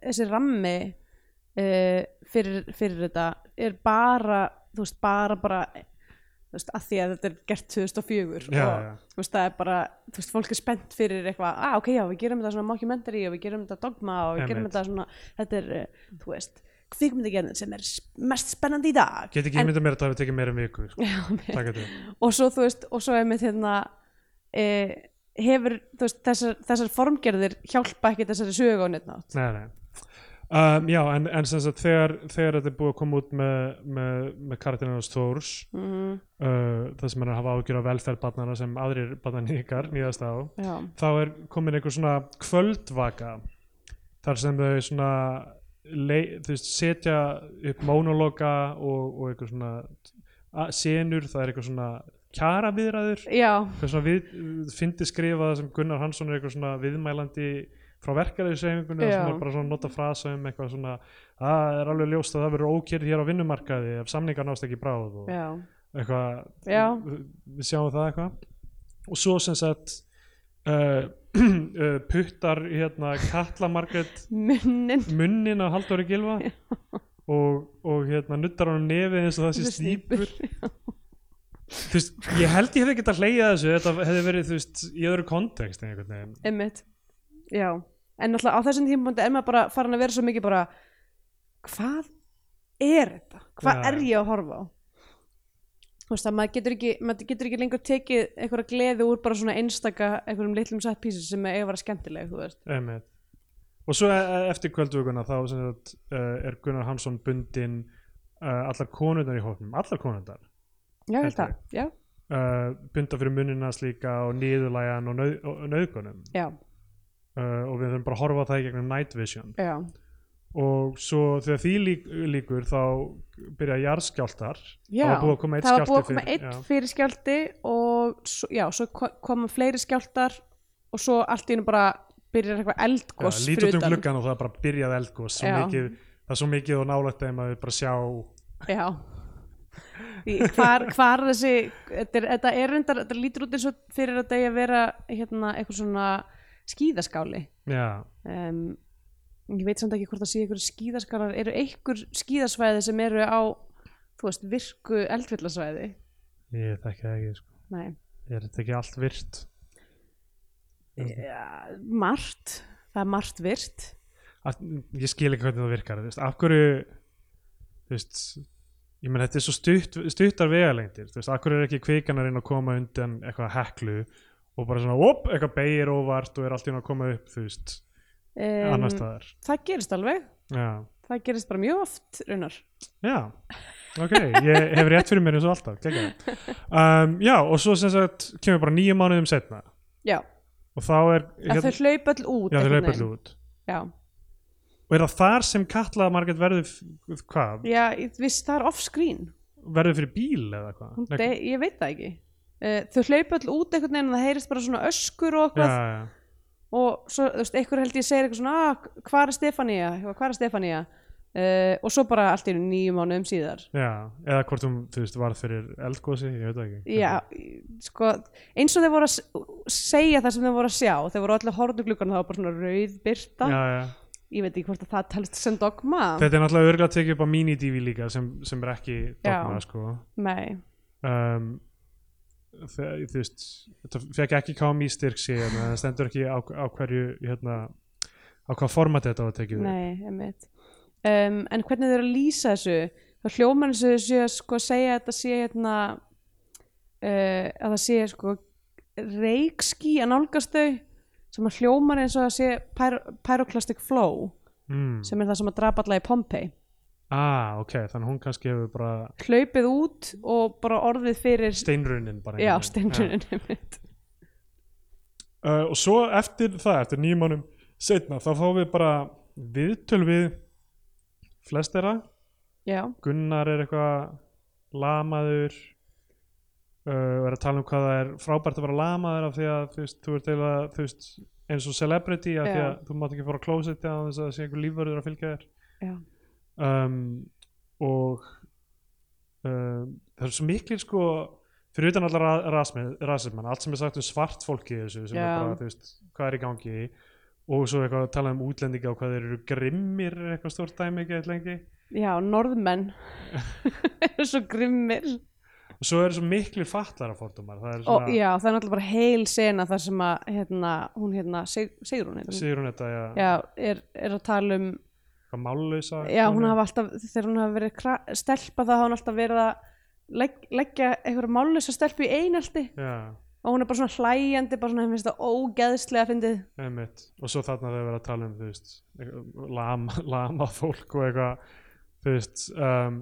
Speaker 1: þessi rammi uh, fyrir, fyrir þetta er bara, þú veist, bara bara þú veist, að því að þetta er gert 2004
Speaker 2: Já,
Speaker 1: og
Speaker 2: já.
Speaker 1: þú veist, það er bara, þú veist, fólk er spennt fyrir eitthvað, ah, ok, já, við gerum þetta svona mockumentary og við gerum þetta dogma og við gerum
Speaker 2: Einmitt.
Speaker 1: þetta svona, þetta er, eh, þú veist, kvikmyndagerðin sem er s- mest spennandi í dag.
Speaker 2: get ekki
Speaker 1: En-
Speaker 2: ímynda mér að það hefur tekið meira um viku sko.
Speaker 1: Já, með
Speaker 2: Takk þetta.
Speaker 1: og svo þú veist, og svo er mitt hérna e, hefur þú veist, þessar, þessar formgerðir hjálpa ekki þessari sögu á neittnátt
Speaker 2: Nei, nei. Um, já, en, en sem sagt þegar, þegar þetta er búið að koma út með, með, með kartinarnas Þórs
Speaker 1: mm,
Speaker 2: uh, það sem hann er að hafa ágjur á velferð barnana sem aðrir barnan ykkar nýðast á
Speaker 1: já,
Speaker 2: þá er komin einhver svona kvöldvaka þar sem þau svona lei, þú veist, setja upp monologa og, og eitthvað svona a- senur, það er eitthvað svona kjara viðræður
Speaker 1: já,
Speaker 2: eitthvað svona við, fyndi skrifað sem Gunnar Hansson er eitthvað svona viðmælandi frá verkaræðisreifingunni
Speaker 1: Já.
Speaker 2: sem er bara svona nota frasa um eitthvað svona það er alveg ljóst að það verður ókjörð hér á vinnumarkaði ef samningar nást ekki í bráð og
Speaker 1: já,
Speaker 2: eitthvað,
Speaker 1: Já.
Speaker 2: við sjáum það eitthvað og svo sem sagt uh, uh, puttar hérna kallamarkett
Speaker 1: munnin
Speaker 2: munnin af Halldóri Gilva og, og hérna nuttar honum nefið eins og það sé snýpur þú veist, ég held ég hefði getað hlegið að þessu, þetta hefði verið þú veist, í öðru kontekst einhvern veginn
Speaker 1: Einmitt, já En náttúrulega á þessum tímapunkti er maður bara farin að vera svo mikið bara Hvað er þetta? Hvað
Speaker 2: Já.
Speaker 1: er ég að horfa á? Þú veist að maður getur ekki, maður getur ekki lengur tekið einhverja gleði úr bara svona einstaka einhverjum litlum set pieces sem eiga að vera skemmtileg, þú veist
Speaker 2: Einmitt. og svo e- eftir kvöldvökunna þá sem sagt, uh, er Gunnar Hansson bundin uh, allar konundar í hóknum, allar konundar
Speaker 1: Já, ég held
Speaker 2: Heldur.
Speaker 1: það, já,
Speaker 2: uh, bunda fyrir munina slíka og nýðulægan og, nauð, og nauðgunum
Speaker 1: já,
Speaker 2: uh, og við þurfum bara að horfa á það í gegnum night vision
Speaker 1: já
Speaker 2: og svo þegar því lík, líkur þá byrja jarðskjáltar
Speaker 1: Já,
Speaker 2: það var búið að koma eitt
Speaker 1: það var búið
Speaker 2: skjálfti
Speaker 1: að koma einn
Speaker 2: fyrir- já.
Speaker 1: fyrir skjálti og svo, já, svo ko- koma fleiri skjáltar og svo allt í hennu bara byrjar eitthvað eldgoss
Speaker 2: ja,
Speaker 1: fyrir
Speaker 2: lítið út um
Speaker 1: utan.
Speaker 2: gluggan og það er bara byrjað eldgós svo
Speaker 1: Já.
Speaker 2: mikið, það er svo mikið og nálægt þeim að við bara sjá
Speaker 1: Já Í- hvar, hvar er þessi þetta, er, þetta er reyndar, þetta lítur út eins og fyrir að þetta eigi að vera hérna eitthvað svona skíðaskáli
Speaker 2: já,
Speaker 1: um, ég veit samt ekki hvort það sé eitthvað skíðaskálar, eru einhver skíðasvæði sem eru á, þú veist, virku eldfjallasvæði?
Speaker 2: ég þekki það ekki sko.
Speaker 1: Nei,
Speaker 2: er þetta ekki allt virt
Speaker 1: ja, Eh, margt það er margt virt
Speaker 2: Allt- ég skil ekki hvernig það virkar þú veist, af hverju þú veist, ég menn þetta er svo stutt, stuttar vegalengdir, þú veist, af hverju er ekki kvikanar inn að koma undan eitthvað heklu og bara svona, op, eitthvað beigir óvart og er allt inn að koma upp, þú veist
Speaker 1: um,
Speaker 2: annar staðar,
Speaker 1: það gerist alveg
Speaker 2: já
Speaker 1: það gerist bara mjög oft raunar
Speaker 2: já, ok, ég hef rétt fyrir mér eins og alltaf, kekja um, já, og svo sem sagt, kemur bara nýju mánuðum setna
Speaker 1: já,
Speaker 2: og þá er,
Speaker 1: að
Speaker 2: hérna-
Speaker 1: þau hlaupa all út
Speaker 2: já, þau
Speaker 1: einhvern
Speaker 2: hlaupa
Speaker 1: veginn.
Speaker 2: allu út
Speaker 1: já,
Speaker 2: og er það þar sem kallaða margætt verður f- hvað,
Speaker 1: já, ég- viss, það er off-screen
Speaker 2: verður fyrir bíl eða hvað
Speaker 1: Hún
Speaker 2: Nei,
Speaker 1: dey, ég veit það ekki uh, þau hlaupa öll út einhvern veginn og það heyrist bara svona öskur og
Speaker 2: já,
Speaker 1: eitthvað
Speaker 2: já,
Speaker 1: og svo, þú veist, einhver held ég segir eitthvað svona "Ah, hvað er Stefania, hvað er Stefania uh, og svo bara allt í einu nýju mánuðum síðar
Speaker 2: Já, eða hvort hún, þú veist, varð fyrir eldgósi, ég veit það ekki.
Speaker 1: já, sko, eins og þeir voru að s- segja það sem þeir voru að sjá þeir voru allir horfðu gluggan og það var bara svona rauð byrta,
Speaker 2: Já, já.
Speaker 1: ég veit ekki hvort að það talist sem dogma,
Speaker 2: Þetta er náttúrulega örgulega tekið upp á mini-DV líka sem, sem er ekki dogma,
Speaker 1: Já.
Speaker 2: sko.
Speaker 1: nei
Speaker 2: Um, þe- þú veist, þetta fekk ekki KMI styrk síðan, en það stendur ekki á, á hverju, hérna, á hvað format þetta var tekið. upp.
Speaker 1: Nei, einmitt um, En hvernig þau eru að lýsa þessu þá hljóman þessu sé að sko segja að þetta sé hérna uh, að það sé sko reikski að nálgast þau sem að hljóman eins og það sé pyro- pyroclastic flow
Speaker 2: Mm.
Speaker 1: sem er það sem að drapa alla í Pompei
Speaker 2: Ah, ok, þannig hún kannski hefur bara
Speaker 1: hlaupið út og bara orðið fyrir
Speaker 2: steinrunin bara.
Speaker 1: já,
Speaker 2: einhvern veginn.
Speaker 1: steinrunin einmitt
Speaker 2: uh, og svo eftir það, eftir nýjum mánum setna, þá fáum við bara viðtöl við flest þeirra
Speaker 1: Já,
Speaker 2: Gunnar er eitthvað lamaður uh, og er að tala um hvað það er frábært að vera lamaður af því að þú, veist, þú ert eila þú veist, eins og celebrity af því
Speaker 1: Já.
Speaker 2: að þú mátt ekki fara á klósetti á þess að það sé einhver lífverður að fylgja
Speaker 1: Já.
Speaker 2: þér um, og um, það er svo miklir sko fyrir utan allar ra- rasmi- rasismann allt sem er sagt um svart fólki í þessu sem
Speaker 1: Já.
Speaker 2: er bara, þú veist, hvað er í gangi og svo eitthvað að tala um útlendinga og hvað þeir eru grimmir er eitthvað stórt dæmi ekki eitthvað lengi
Speaker 1: já norðmenn eru svo grimmir
Speaker 2: og svo eru svo miklir fatlara fordómar það er
Speaker 1: og
Speaker 2: svona,
Speaker 1: já, það er náttúrulega bara heil sena þar sem að hérna, hún hérna, Sig, Sigrún heitir hún
Speaker 2: sigur hún þetta ja,
Speaker 1: já, er, er að tala um
Speaker 2: hvað mállausa
Speaker 1: já, hún
Speaker 2: konu?
Speaker 1: hafa alltaf, þegar hún hafa verið kra- stelpa þá hafa hún alltaf verið að legg, leggja einhverja mállösa stelpu í einaldi
Speaker 2: já,
Speaker 1: og hún er bara svona hlæjandi, bara svona, henni finnst það ógeðslega fyndið,
Speaker 2: einmitt og svo þarna þau verið að tala um þú veist, eitthvað lama, lama fólk og eitthvað þú veist um,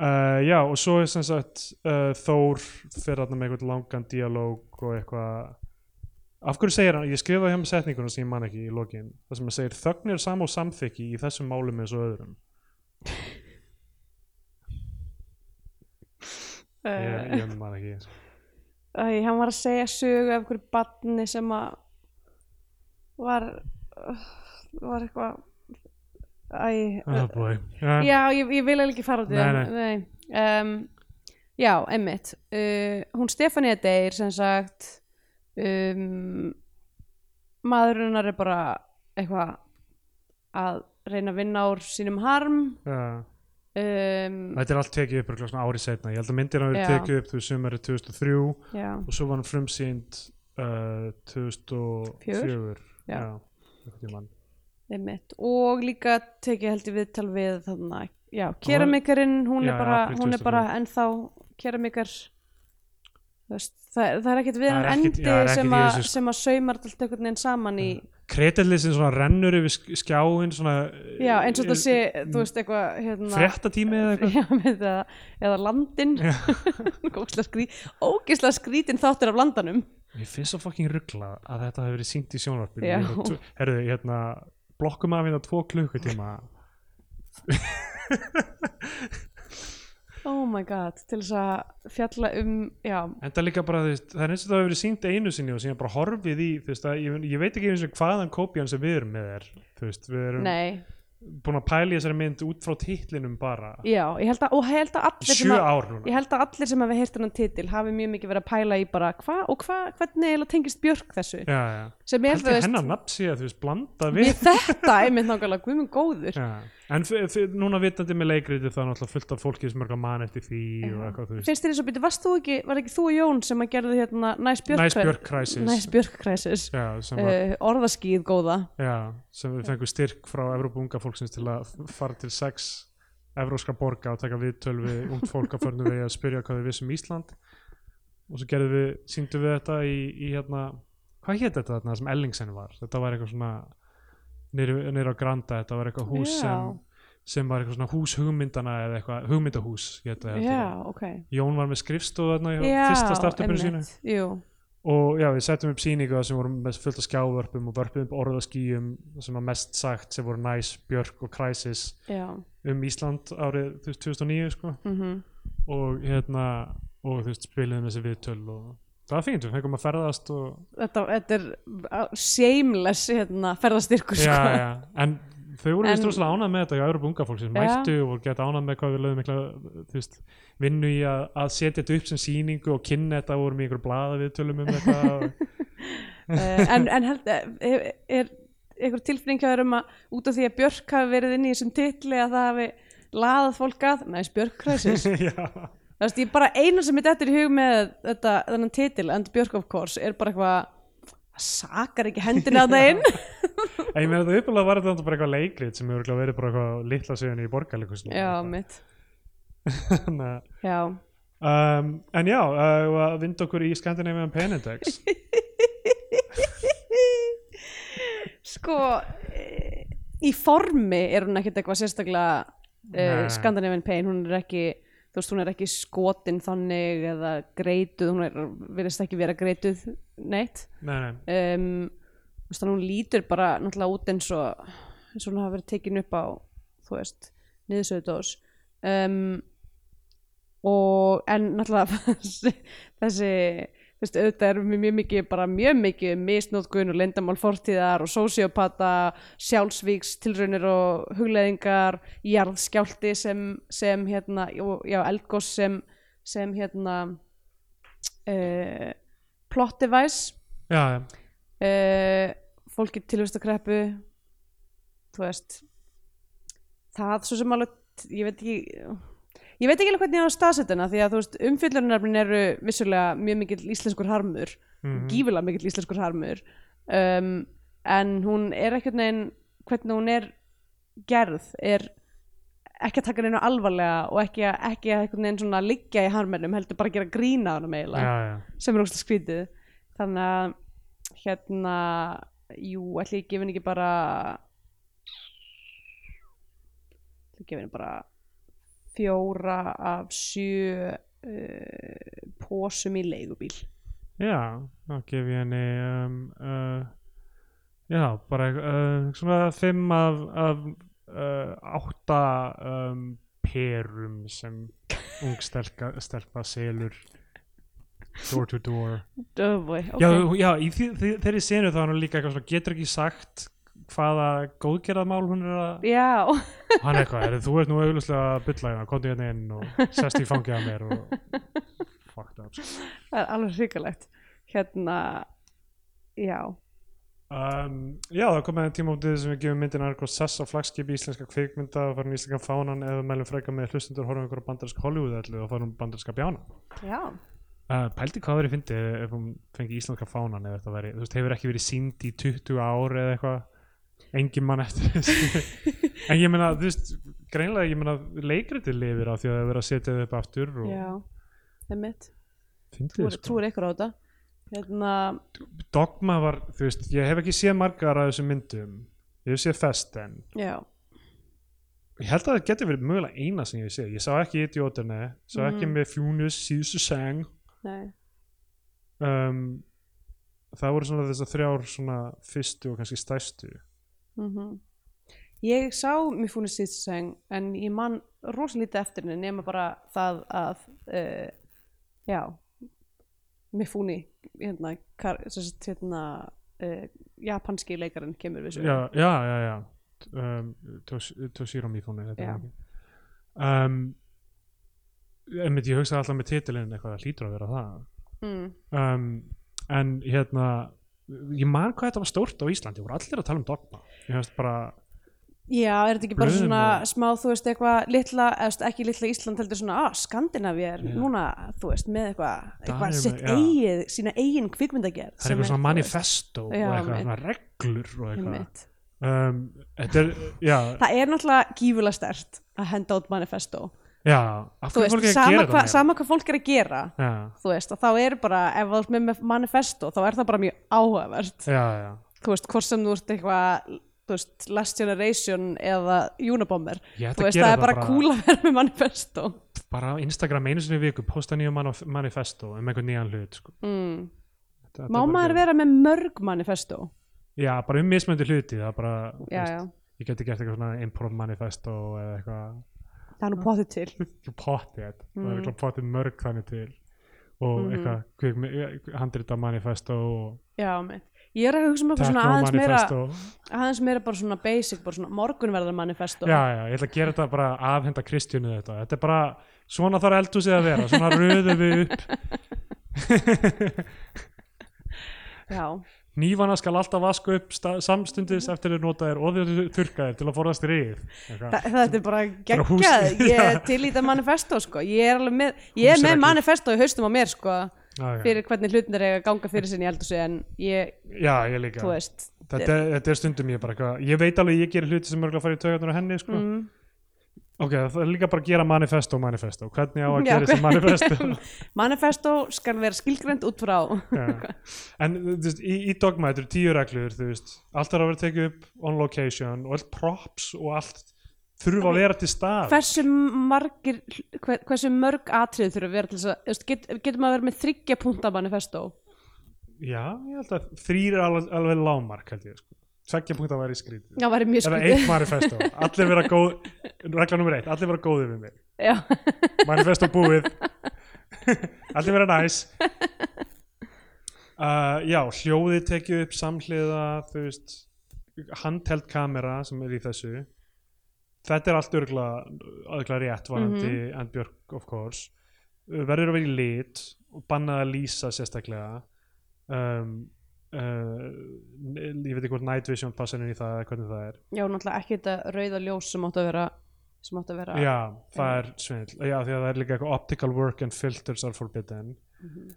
Speaker 2: uh, já og svo er sem sagt uh, Þór fyrir þarna með eitthvað langan díalóg og eitthvað af hverju segir hann, ég skrifaði hjá með setninguna sem ég man ekki í lokin, það sem hann segir þögn er sam og samþykki í þessum málum eins og öðrum ég,
Speaker 1: uh,
Speaker 2: ég man ekki
Speaker 1: Æ, hann var að segja sögu af hverju badni sem að var uh, var eitthvað Æ, uh,
Speaker 2: oh boy yeah.
Speaker 1: já, ég, ég vil eiginlega ekki fara út í
Speaker 2: Nei,
Speaker 1: það nei. Um, já, emmitt uh, hún Stefania deyr sem sagt um, maðurinnar er bara eitthvað að reyna að vinna úr sínum harm
Speaker 2: yeah.
Speaker 1: um,
Speaker 2: þetta er allt tekið upp örugglega svona ári setna ég held að myndir hann verið
Speaker 1: Já.
Speaker 2: tekið upp þú sumari 2003
Speaker 1: já,
Speaker 2: og svo var hann frumsýnd uh, 2004
Speaker 1: Já.
Speaker 2: einhvern tímann.
Speaker 1: emmitt og líka tekið held ég viðtal við þarna, já, keramikarinn hún,
Speaker 2: Já,
Speaker 1: er
Speaker 2: já,
Speaker 1: bara,
Speaker 2: apríl
Speaker 1: hún er bara
Speaker 2: 2004.
Speaker 1: ennþá keramikar þú veist, það, það er ekkert við
Speaker 2: Það er
Speaker 1: hann
Speaker 2: ekkert-
Speaker 1: endi
Speaker 2: já, það er ekkert
Speaker 1: sem,
Speaker 2: í
Speaker 1: að-
Speaker 2: þessu, sko.
Speaker 1: sem að saumar allt einhvern veginn saman í
Speaker 2: kreditli sem svona rennur yfir sk- skjáinn svona
Speaker 1: Já, eins og þetta sé, þú veist, eitthvað hérna,
Speaker 2: fréttatími eða eitthvað
Speaker 1: Já, með það, eða landin Ógisla skrý, ógisla skrítin þáttur af landanum
Speaker 2: Mér finnst svo fucking ruggla að þetta hefur verið sýnt í sjónvarpinu
Speaker 1: Já.
Speaker 2: Ég er- Herðu, hérna, blokkum af hérna tvo klukkutíma
Speaker 1: Oh my god, til þess að fjalla um Já,
Speaker 2: En það er líka bara, þú veist, það er eins og það hefur verið sýnt einu sinni og síðan bara horfið í þú veist, að, ég, ég veit ekki eins og hvaðan kópjan sem við erum með er Þú veist, við erum
Speaker 1: nei,
Speaker 2: búin að pæla í þessari mynd út frá titlinum bara í
Speaker 1: já, ég held að og ég held að allir sem
Speaker 2: Sjö
Speaker 1: að
Speaker 2: ár núna
Speaker 1: Ég held að allir sem hafi heyrt hennan titil hafi mjög mikið verið að pæla í bara hvað og hvað, hvernig eiginlega tengist Björk þessu
Speaker 2: Já, já
Speaker 1: sem er,
Speaker 2: Held ég hennar nafn sé að þú veist, blanda við
Speaker 1: við þetta einmitt nákvæmlega, guðmund góður
Speaker 2: Já. En f- f- núna vitandi með leikriði það er náttúrulega fullt af fólki sem er að mann eftir því og eitthvað, þú veist
Speaker 1: Finnst þér eins og byrju, varst þú ekki, var ekki þú og Jón sem að gerðu hérna Næs Björk
Speaker 2: Næs Björk Crisis
Speaker 1: Næs Björk Crisis
Speaker 2: Já, sem var
Speaker 1: uh, orðaskýð góða
Speaker 2: Já, sem við fengum styrk frá Evrópunga fólksins til að fara til sex evróska borga og taka viðtöl við ungt fólk að förnum við að spyrja hvað við vissum um Ísland og svo gerðum við, síndum við þetta í, í hérna, hvað hétt þetta þarna sem Ellingsen var, þetta var eitthvað svona niður niður á Granda, þetta var eitthvað hús sem, sem var eitthvað svona hús hugmyndana eða eitthvað, hugmyndahús hétt það, held ég.
Speaker 1: já, ok
Speaker 2: Jón var með skrifstofu þarna í
Speaker 1: já,
Speaker 2: fyrsta startupinu sínu
Speaker 1: einmitt, jú,
Speaker 2: og já, við settum upp sýningu þar sem vorum með fullt af skjávörpum og vörpum upp orðaskýjum sem var mest sagt sem voru Næs, Björk og Crisis
Speaker 1: já,
Speaker 2: um Ísland árið þú veist, 2009 sko.
Speaker 1: mhm
Speaker 2: og hérna og þú veist, spiliðum þessi viðtöl og það var fínt, við fengum að ferðast og
Speaker 1: þetta, þetta er á- shameless hérna, ferðastyrkur
Speaker 2: já,
Speaker 1: sko.
Speaker 2: já, en þau voru
Speaker 1: En-
Speaker 2: vist rosalega ánað með þetta í Európa unga fólk sem
Speaker 1: Já.
Speaker 2: mættu og voru gett ánað með hvað við lögum mikla þú veist, vinnu í að, að setja þetta upp sem sýningu og kynna þetta vorum í einhver blaða viðtölum um þetta og,
Speaker 1: Eh, en, en held, er, er einhver tilfinning hjá þér um að út af því að Björk hafi verið inn í þessum titli að það hafi laðað fólk að Næs Björk kræsis
Speaker 2: já
Speaker 1: Það veist, ég bara eina sem mitt eftir í hug með þetta, þennan titil, And Björk of course, er bara eitthvað, það sakar ekki hendina það inn.
Speaker 2: En ég meina þetta uppalega var þetta bara eitthvað leikrit sem hefur örugglega verið bara eitthvað litla söguna í borgarleikusinu.
Speaker 1: Já, mitt.
Speaker 2: um,
Speaker 1: Já.
Speaker 2: en já, uh, og að vinda okkur í Scandinavian Penindex.
Speaker 1: sko eh, í formi er hún ekkert eitthvað sérstaklega uh,
Speaker 2: Nei.
Speaker 1: Scandinavian Pain hún er ekki þú veist hún er ekki skotin þannig eða greituð hún er, virðist ekki vera greituð neitt
Speaker 2: nei, nei,
Speaker 1: um, þú veist, þannig að hún lítur bara náttúrulega út eins og eins og hún hafa verið tekin upp á þú veist, niðursöðdós um, og en náttúrulega þessi þú veist, auðvitað er mjög mikið, bara mjög mikið um misnótkun og lendamál fortíðar og sósiopata, sjálfsvíks tilraunir og hugleðingar jarðskjálti sem, sem hérna, og- já, eldgós sem sem hérna uh, plot device
Speaker 2: já, já,
Speaker 1: uh, fólk í tilvistakreppu þú veist það svo sem alveg ég veit ekki ég veit ekki alveg hvernig ég á staðsetina því að þú veist umfyllunarnarfin eru vissulega mjög mikill íslenskur harmur
Speaker 2: Mhm.
Speaker 1: gífulega mikill íslenskur harmur um, en hún er ekkert neginn hvernig hún er gerð er ekki að taka neina alvarlega og ekki að, ekki að einhvern veginn svona liggja í harmennum heldur bara að gera grína hana meila
Speaker 2: já, já.
Speaker 1: sem er ógst skrítið þannig að hérna jú, ætli ég gefi henni ekki bara ætli ég gefi henni bara fjóra af sjö uh, pósum í leigubíl
Speaker 2: Já, þá gef ég henni um, uh, já, bara uh, svona fimm af, af uh, átta um, perum sem ung stelka, stelpa selur door to door
Speaker 1: Oh boy, ok.
Speaker 2: Já, já í því, því, þeirri senu þá er hann líka eitthvað svona getur ekki sagt hvaða góðgerðamál hún er að
Speaker 1: Já,
Speaker 2: hann eitthvað, er, þú ert nú auðvitað að bylla hérna, komdu hérna inn og sest í fangið að mér og fucked up sko.
Speaker 1: það er alveg hrikalegt. Hérna, já.
Speaker 2: um, Já, það komið að tímótið sem við gefum myndin Argos Sess á flagskipi íslenska kvikmynda og farum íslenska fánan eða meðlum freka með hlustundur horfum ykkur á bandarinsk Hollywood-ellu og farum bandarinska bjána
Speaker 1: Já.
Speaker 2: uh, Pældi hvað verið fyndið ef hún fengi íslenska fánan eða þetta veri, þú veist, hefur ekki verið sínd í 20 ár eða eitthvað engin mann eftir þessu en ég meina, þú veist, greinlega ég meina leikritið lifir á því að það er verið að setja þau upp aftur og
Speaker 1: Já, það er mitt.
Speaker 2: fyndið sko.
Speaker 1: Trúir, trúir ykkur á þetta. Hérna,
Speaker 2: Dogma var, þú veist, ég hef ekki séð margar af þessum myndum ég hef séð Festen
Speaker 1: já.
Speaker 2: ég held að það getur verið mögulega eina sem ég sé ég sá ekki Idiotene, sá ekki
Speaker 1: Mhm.
Speaker 2: með Fjúnus síðustu seng
Speaker 1: Nei.
Speaker 2: um, það voru svona þessar þrjár svona fyrstu og kannski stæstu
Speaker 1: Mm Ég sá mér fúnir síðseng en ég man rosalítið eftir henni nema bara það að uh, já mér fúni hérna, kar, sérst, hérna uh, japanski leikarinn kemur við sögu.
Speaker 2: já, já, já, já. Um, Tos- Toshiro Mifune þetta
Speaker 1: Já.
Speaker 2: er hann ekki. um, einmitt, ég hugsaði alltaf með titilinn eitthvað það hlýtur að vera það
Speaker 1: Mm.
Speaker 2: um, en hérna ég man hvað þetta var stórt á Íslandi voru allir að tala um dogma ég hefst bara,
Speaker 1: já, er þetta ekki bara
Speaker 2: Blöðum
Speaker 1: svona
Speaker 2: og-
Speaker 1: smá þú veist eitthvað litla, eða þú veist, ekki litla Ísland heldur svona að Skandinavi er
Speaker 2: Já.
Speaker 1: núna þú veist með eitthvað,
Speaker 2: Danir
Speaker 1: eitthvað
Speaker 2: með-
Speaker 1: sitt
Speaker 2: já.
Speaker 1: eigið sína eigin kvikmyndagerð
Speaker 2: það er eitthvað svona
Speaker 1: Já,
Speaker 2: manifesto og eitthvað
Speaker 1: einmitt.
Speaker 2: svona reglur og eitthvað
Speaker 1: manifest
Speaker 2: um, þetta er, já,
Speaker 1: það er náttúrulega gífulega stert að henda út manifesto
Speaker 2: já af
Speaker 1: þú
Speaker 2: hverju
Speaker 1: veist,
Speaker 2: fólk er að
Speaker 1: sama,
Speaker 2: gera
Speaker 1: hva,
Speaker 2: þetta
Speaker 1: sama hvað fólk er að gera
Speaker 2: meira?
Speaker 1: þú veist, að þá er bara, ef þú ert með- með manifesto þá er það bara mjög áhugavert
Speaker 2: já, já, já,
Speaker 1: þú veist, hvort sem þú ert eitthvað þú veist, last generation eða unabomber,
Speaker 2: Ég
Speaker 1: þú
Speaker 2: ætti að
Speaker 1: veist,
Speaker 2: gera
Speaker 1: það er
Speaker 2: það
Speaker 1: bara
Speaker 2: bara-
Speaker 1: cool að vera með manifesto
Speaker 2: bara á Instagram einu sinni í viku posta nýjum manif manifesto um einhvern nýjan hlut sko.
Speaker 1: mm. má
Speaker 2: Þetta- þetta er bara
Speaker 1: maður
Speaker 2: ekki-
Speaker 1: vera með mörg manifesto
Speaker 2: já, bara um mismöndi hluti það er bara, þú
Speaker 1: já, já,
Speaker 2: ég geti gert eitthvað svona improv manifesto eða eitthvað
Speaker 1: það er nú potið til
Speaker 2: ekki pottið, það
Speaker 1: Mm.
Speaker 2: er eitthvað pottið mörg þannig til og
Speaker 1: Mhm.
Speaker 2: eitthvað kvikmi- handrita manifesto og
Speaker 1: já, mitt Ég er að hugsa um eitthvað svona
Speaker 2: techno
Speaker 1: aðeins meira,
Speaker 2: manifesto
Speaker 1: aðeins meira bara svona basic, bara svona morgunverðar manifesto.
Speaker 2: já, já, ég ætla að gera þetta bara afhenda Kristjánu þetta, þetta er bara svona þarf eldhúsið að vera, svona röðum við upp
Speaker 1: Já.
Speaker 2: nýfana skal alltaf vaska upp sta- samstundis eftir þeir notaðir og þeir þurrkaðir til að forðast rið
Speaker 1: Þa,
Speaker 2: eitthvað.
Speaker 1: þetta er bara
Speaker 2: hús-
Speaker 1: geggjað, ég er
Speaker 2: Já.
Speaker 1: til í þetta manifesto sko, ég er alveg með, ég er með
Speaker 2: Húsreglur.
Speaker 1: manifesto í haustum á mér sko,
Speaker 2: Já, já.
Speaker 1: fyrir hvernig hlutin er að ganga fyrir sinni eldur sig en ég,
Speaker 2: já, ég líka
Speaker 1: þú veist,
Speaker 2: þetta, er- þetta er stundum ég bara eitthvað ég veit alveg ég gerir hluti sem mörgulega farið í taugarnar á henni sko.
Speaker 1: mm,
Speaker 2: ok, það er líka bara að gera manifesto og manifesto hvernig á að
Speaker 1: Já,
Speaker 2: gera þessi
Speaker 1: hver-
Speaker 2: manifesto
Speaker 1: manifesto skal vera skilgrend út frá,
Speaker 2: Já. en þú veist, í, í dogma þetta eru tíu reglur þú veist, allt er að vera tekið upp on location og allt props og allt þurfa að vera til stað
Speaker 1: hversu margir, hver, hversu mörg atrið þurfa að vera til þess að, þú veist, get, getur maður að vera með þryggja punta manifesto,
Speaker 2: já, ég held að þrýr er alveg, alveg lámark held ég, sko, tveggja punkt að vera í skrítið
Speaker 1: það væri mjög
Speaker 2: eða
Speaker 1: skrítið,
Speaker 2: eitt manifesto, allir vera góð regla nummer eitt, allir vera góðið við mig
Speaker 1: já,
Speaker 2: manifesto búið allir vera næs uh, já, hljóðið tekið upp samhliða þú veist handheld kamera sem er í þessu þetta er allt örgla örgla rétt varandi mm -hmm. Björk of course Uh, verður að vera í lit og bannað að lýsa sérstaklega um, uh, n- ég veit ekki hvort night vision passar inn í það eða hvernig það er
Speaker 1: já, náttúrulega ekki þetta rauða ljós sem átt að vera, sem átt að vera,
Speaker 2: Já, það er svindl Já, því að það er líka eitthvað optical work and filters are forbidden
Speaker 1: Mhm.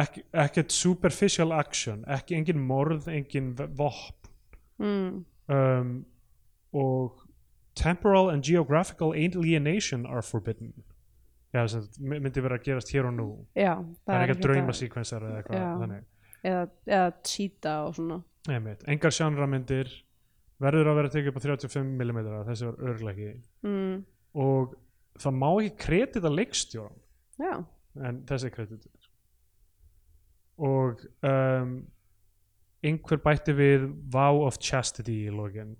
Speaker 2: Ek, ekkert superficial action ekki engin morð, engin v- vopn
Speaker 1: mm,
Speaker 2: um, og temporal and geographical alienation are forbidden Já, sem sagt, my- myndi vera að gerast hér og nú
Speaker 1: já,
Speaker 2: það er Mm, ekki að
Speaker 1: þetta-
Speaker 2: drauma sequencer eða
Speaker 1: Já.
Speaker 2: eitthvað þannig
Speaker 1: eða, eða cheata og svona
Speaker 2: Einmitt. engar sjánramyndir verður að vera tekið upp á 35mm þessi var örglega ekki
Speaker 1: mm,
Speaker 2: og það má ekki kredita leikstjóran
Speaker 1: já,
Speaker 2: en þessi kredit og um, einhver bætti við Vow of Chastity í lokin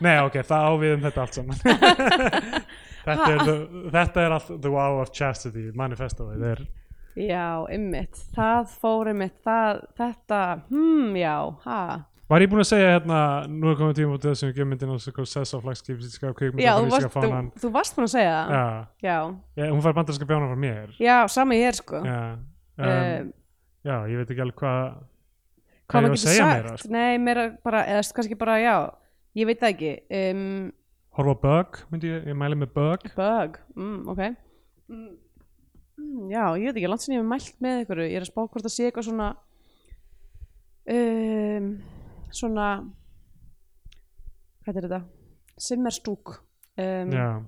Speaker 2: Nei, ok, það á við um þetta allt saman þetta, er the, þetta er allt The Vow of Chastity manifestoið það er
Speaker 1: Já, ymmit, það fór ymmit, það, þetta, hmm, já, ha.
Speaker 2: Var ég búinn að segja hérna, nú er komið tíma út af þessum gemmyndin og svo sess á
Speaker 1: Já,
Speaker 2: flagskipsíska
Speaker 1: þú varst,
Speaker 2: kvikmyndafaríska
Speaker 1: um- þú,
Speaker 2: fánan.
Speaker 1: þú varst búin að segja það.
Speaker 2: Já,
Speaker 1: Já,
Speaker 2: ég, hún fær bandarska bjána frá mér.
Speaker 1: já, sama ég er sko.
Speaker 2: Já, um,
Speaker 1: Um,
Speaker 2: já, ég veit ekki alveg hvað
Speaker 1: hvað
Speaker 2: hvað
Speaker 1: maður
Speaker 2: ég var að
Speaker 1: getur
Speaker 2: segja
Speaker 1: sagt,
Speaker 2: meira. Sko.
Speaker 1: nei, meira bara, eða kannski bara, já, ég veit það ekki, um,
Speaker 2: Horfa á Bug, myndi ég, ég mæli með Bug.
Speaker 1: bug, mm, ok. Mm, mm, já, ég veit ekki, langt sinni ég hef mælt með ykkur, ég er að spá hvort það sé eitthvað svona, um, svona, hvað er þetta, simmerstúk. Um,
Speaker 2: Já,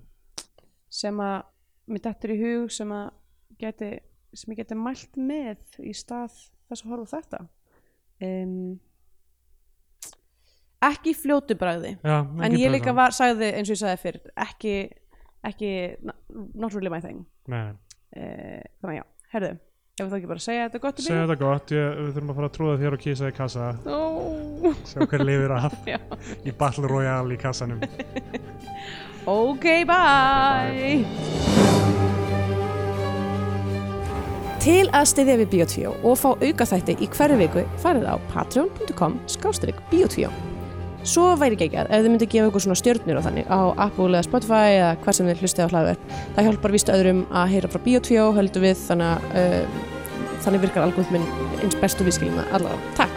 Speaker 1: sem að mér dettur í hug sem að geti, sem ég geti mælt með í stað þess að horfa á þetta um, ekki í fljótu bragði
Speaker 2: já.
Speaker 1: en ég líka var, sagði eins og ég sagði fyrr ekki, ekki not really my thing
Speaker 2: Nei,
Speaker 1: uh, þannig að já, herðu ef við þá ekki bara segja þetta gott í
Speaker 2: segja þetta gott, ég, við þurfum að fara að trúða þér og kísa í kassa,
Speaker 1: byrjun? Ó,
Speaker 2: sjá hver lifir af
Speaker 1: já.
Speaker 2: í Battle Royale í kassanum.
Speaker 1: ok, bye. Til að styðja við Bíotvíó og fá aukaþætti í hverju viku farið á patreon.com skástrík Bíotvíó. Svo væri geggjað ef þið myndi gefa ykkur svona stjörnur á þannig á Apple eða Spotify eða hver sem þið hlustið á hlaðverð. Það hjálpar víst öðrum að heyra frá eh, Bíotvíó höldum við þannig að uh, þannig virkar algúð minn eins bestu viðskiljum það allavega. Takk!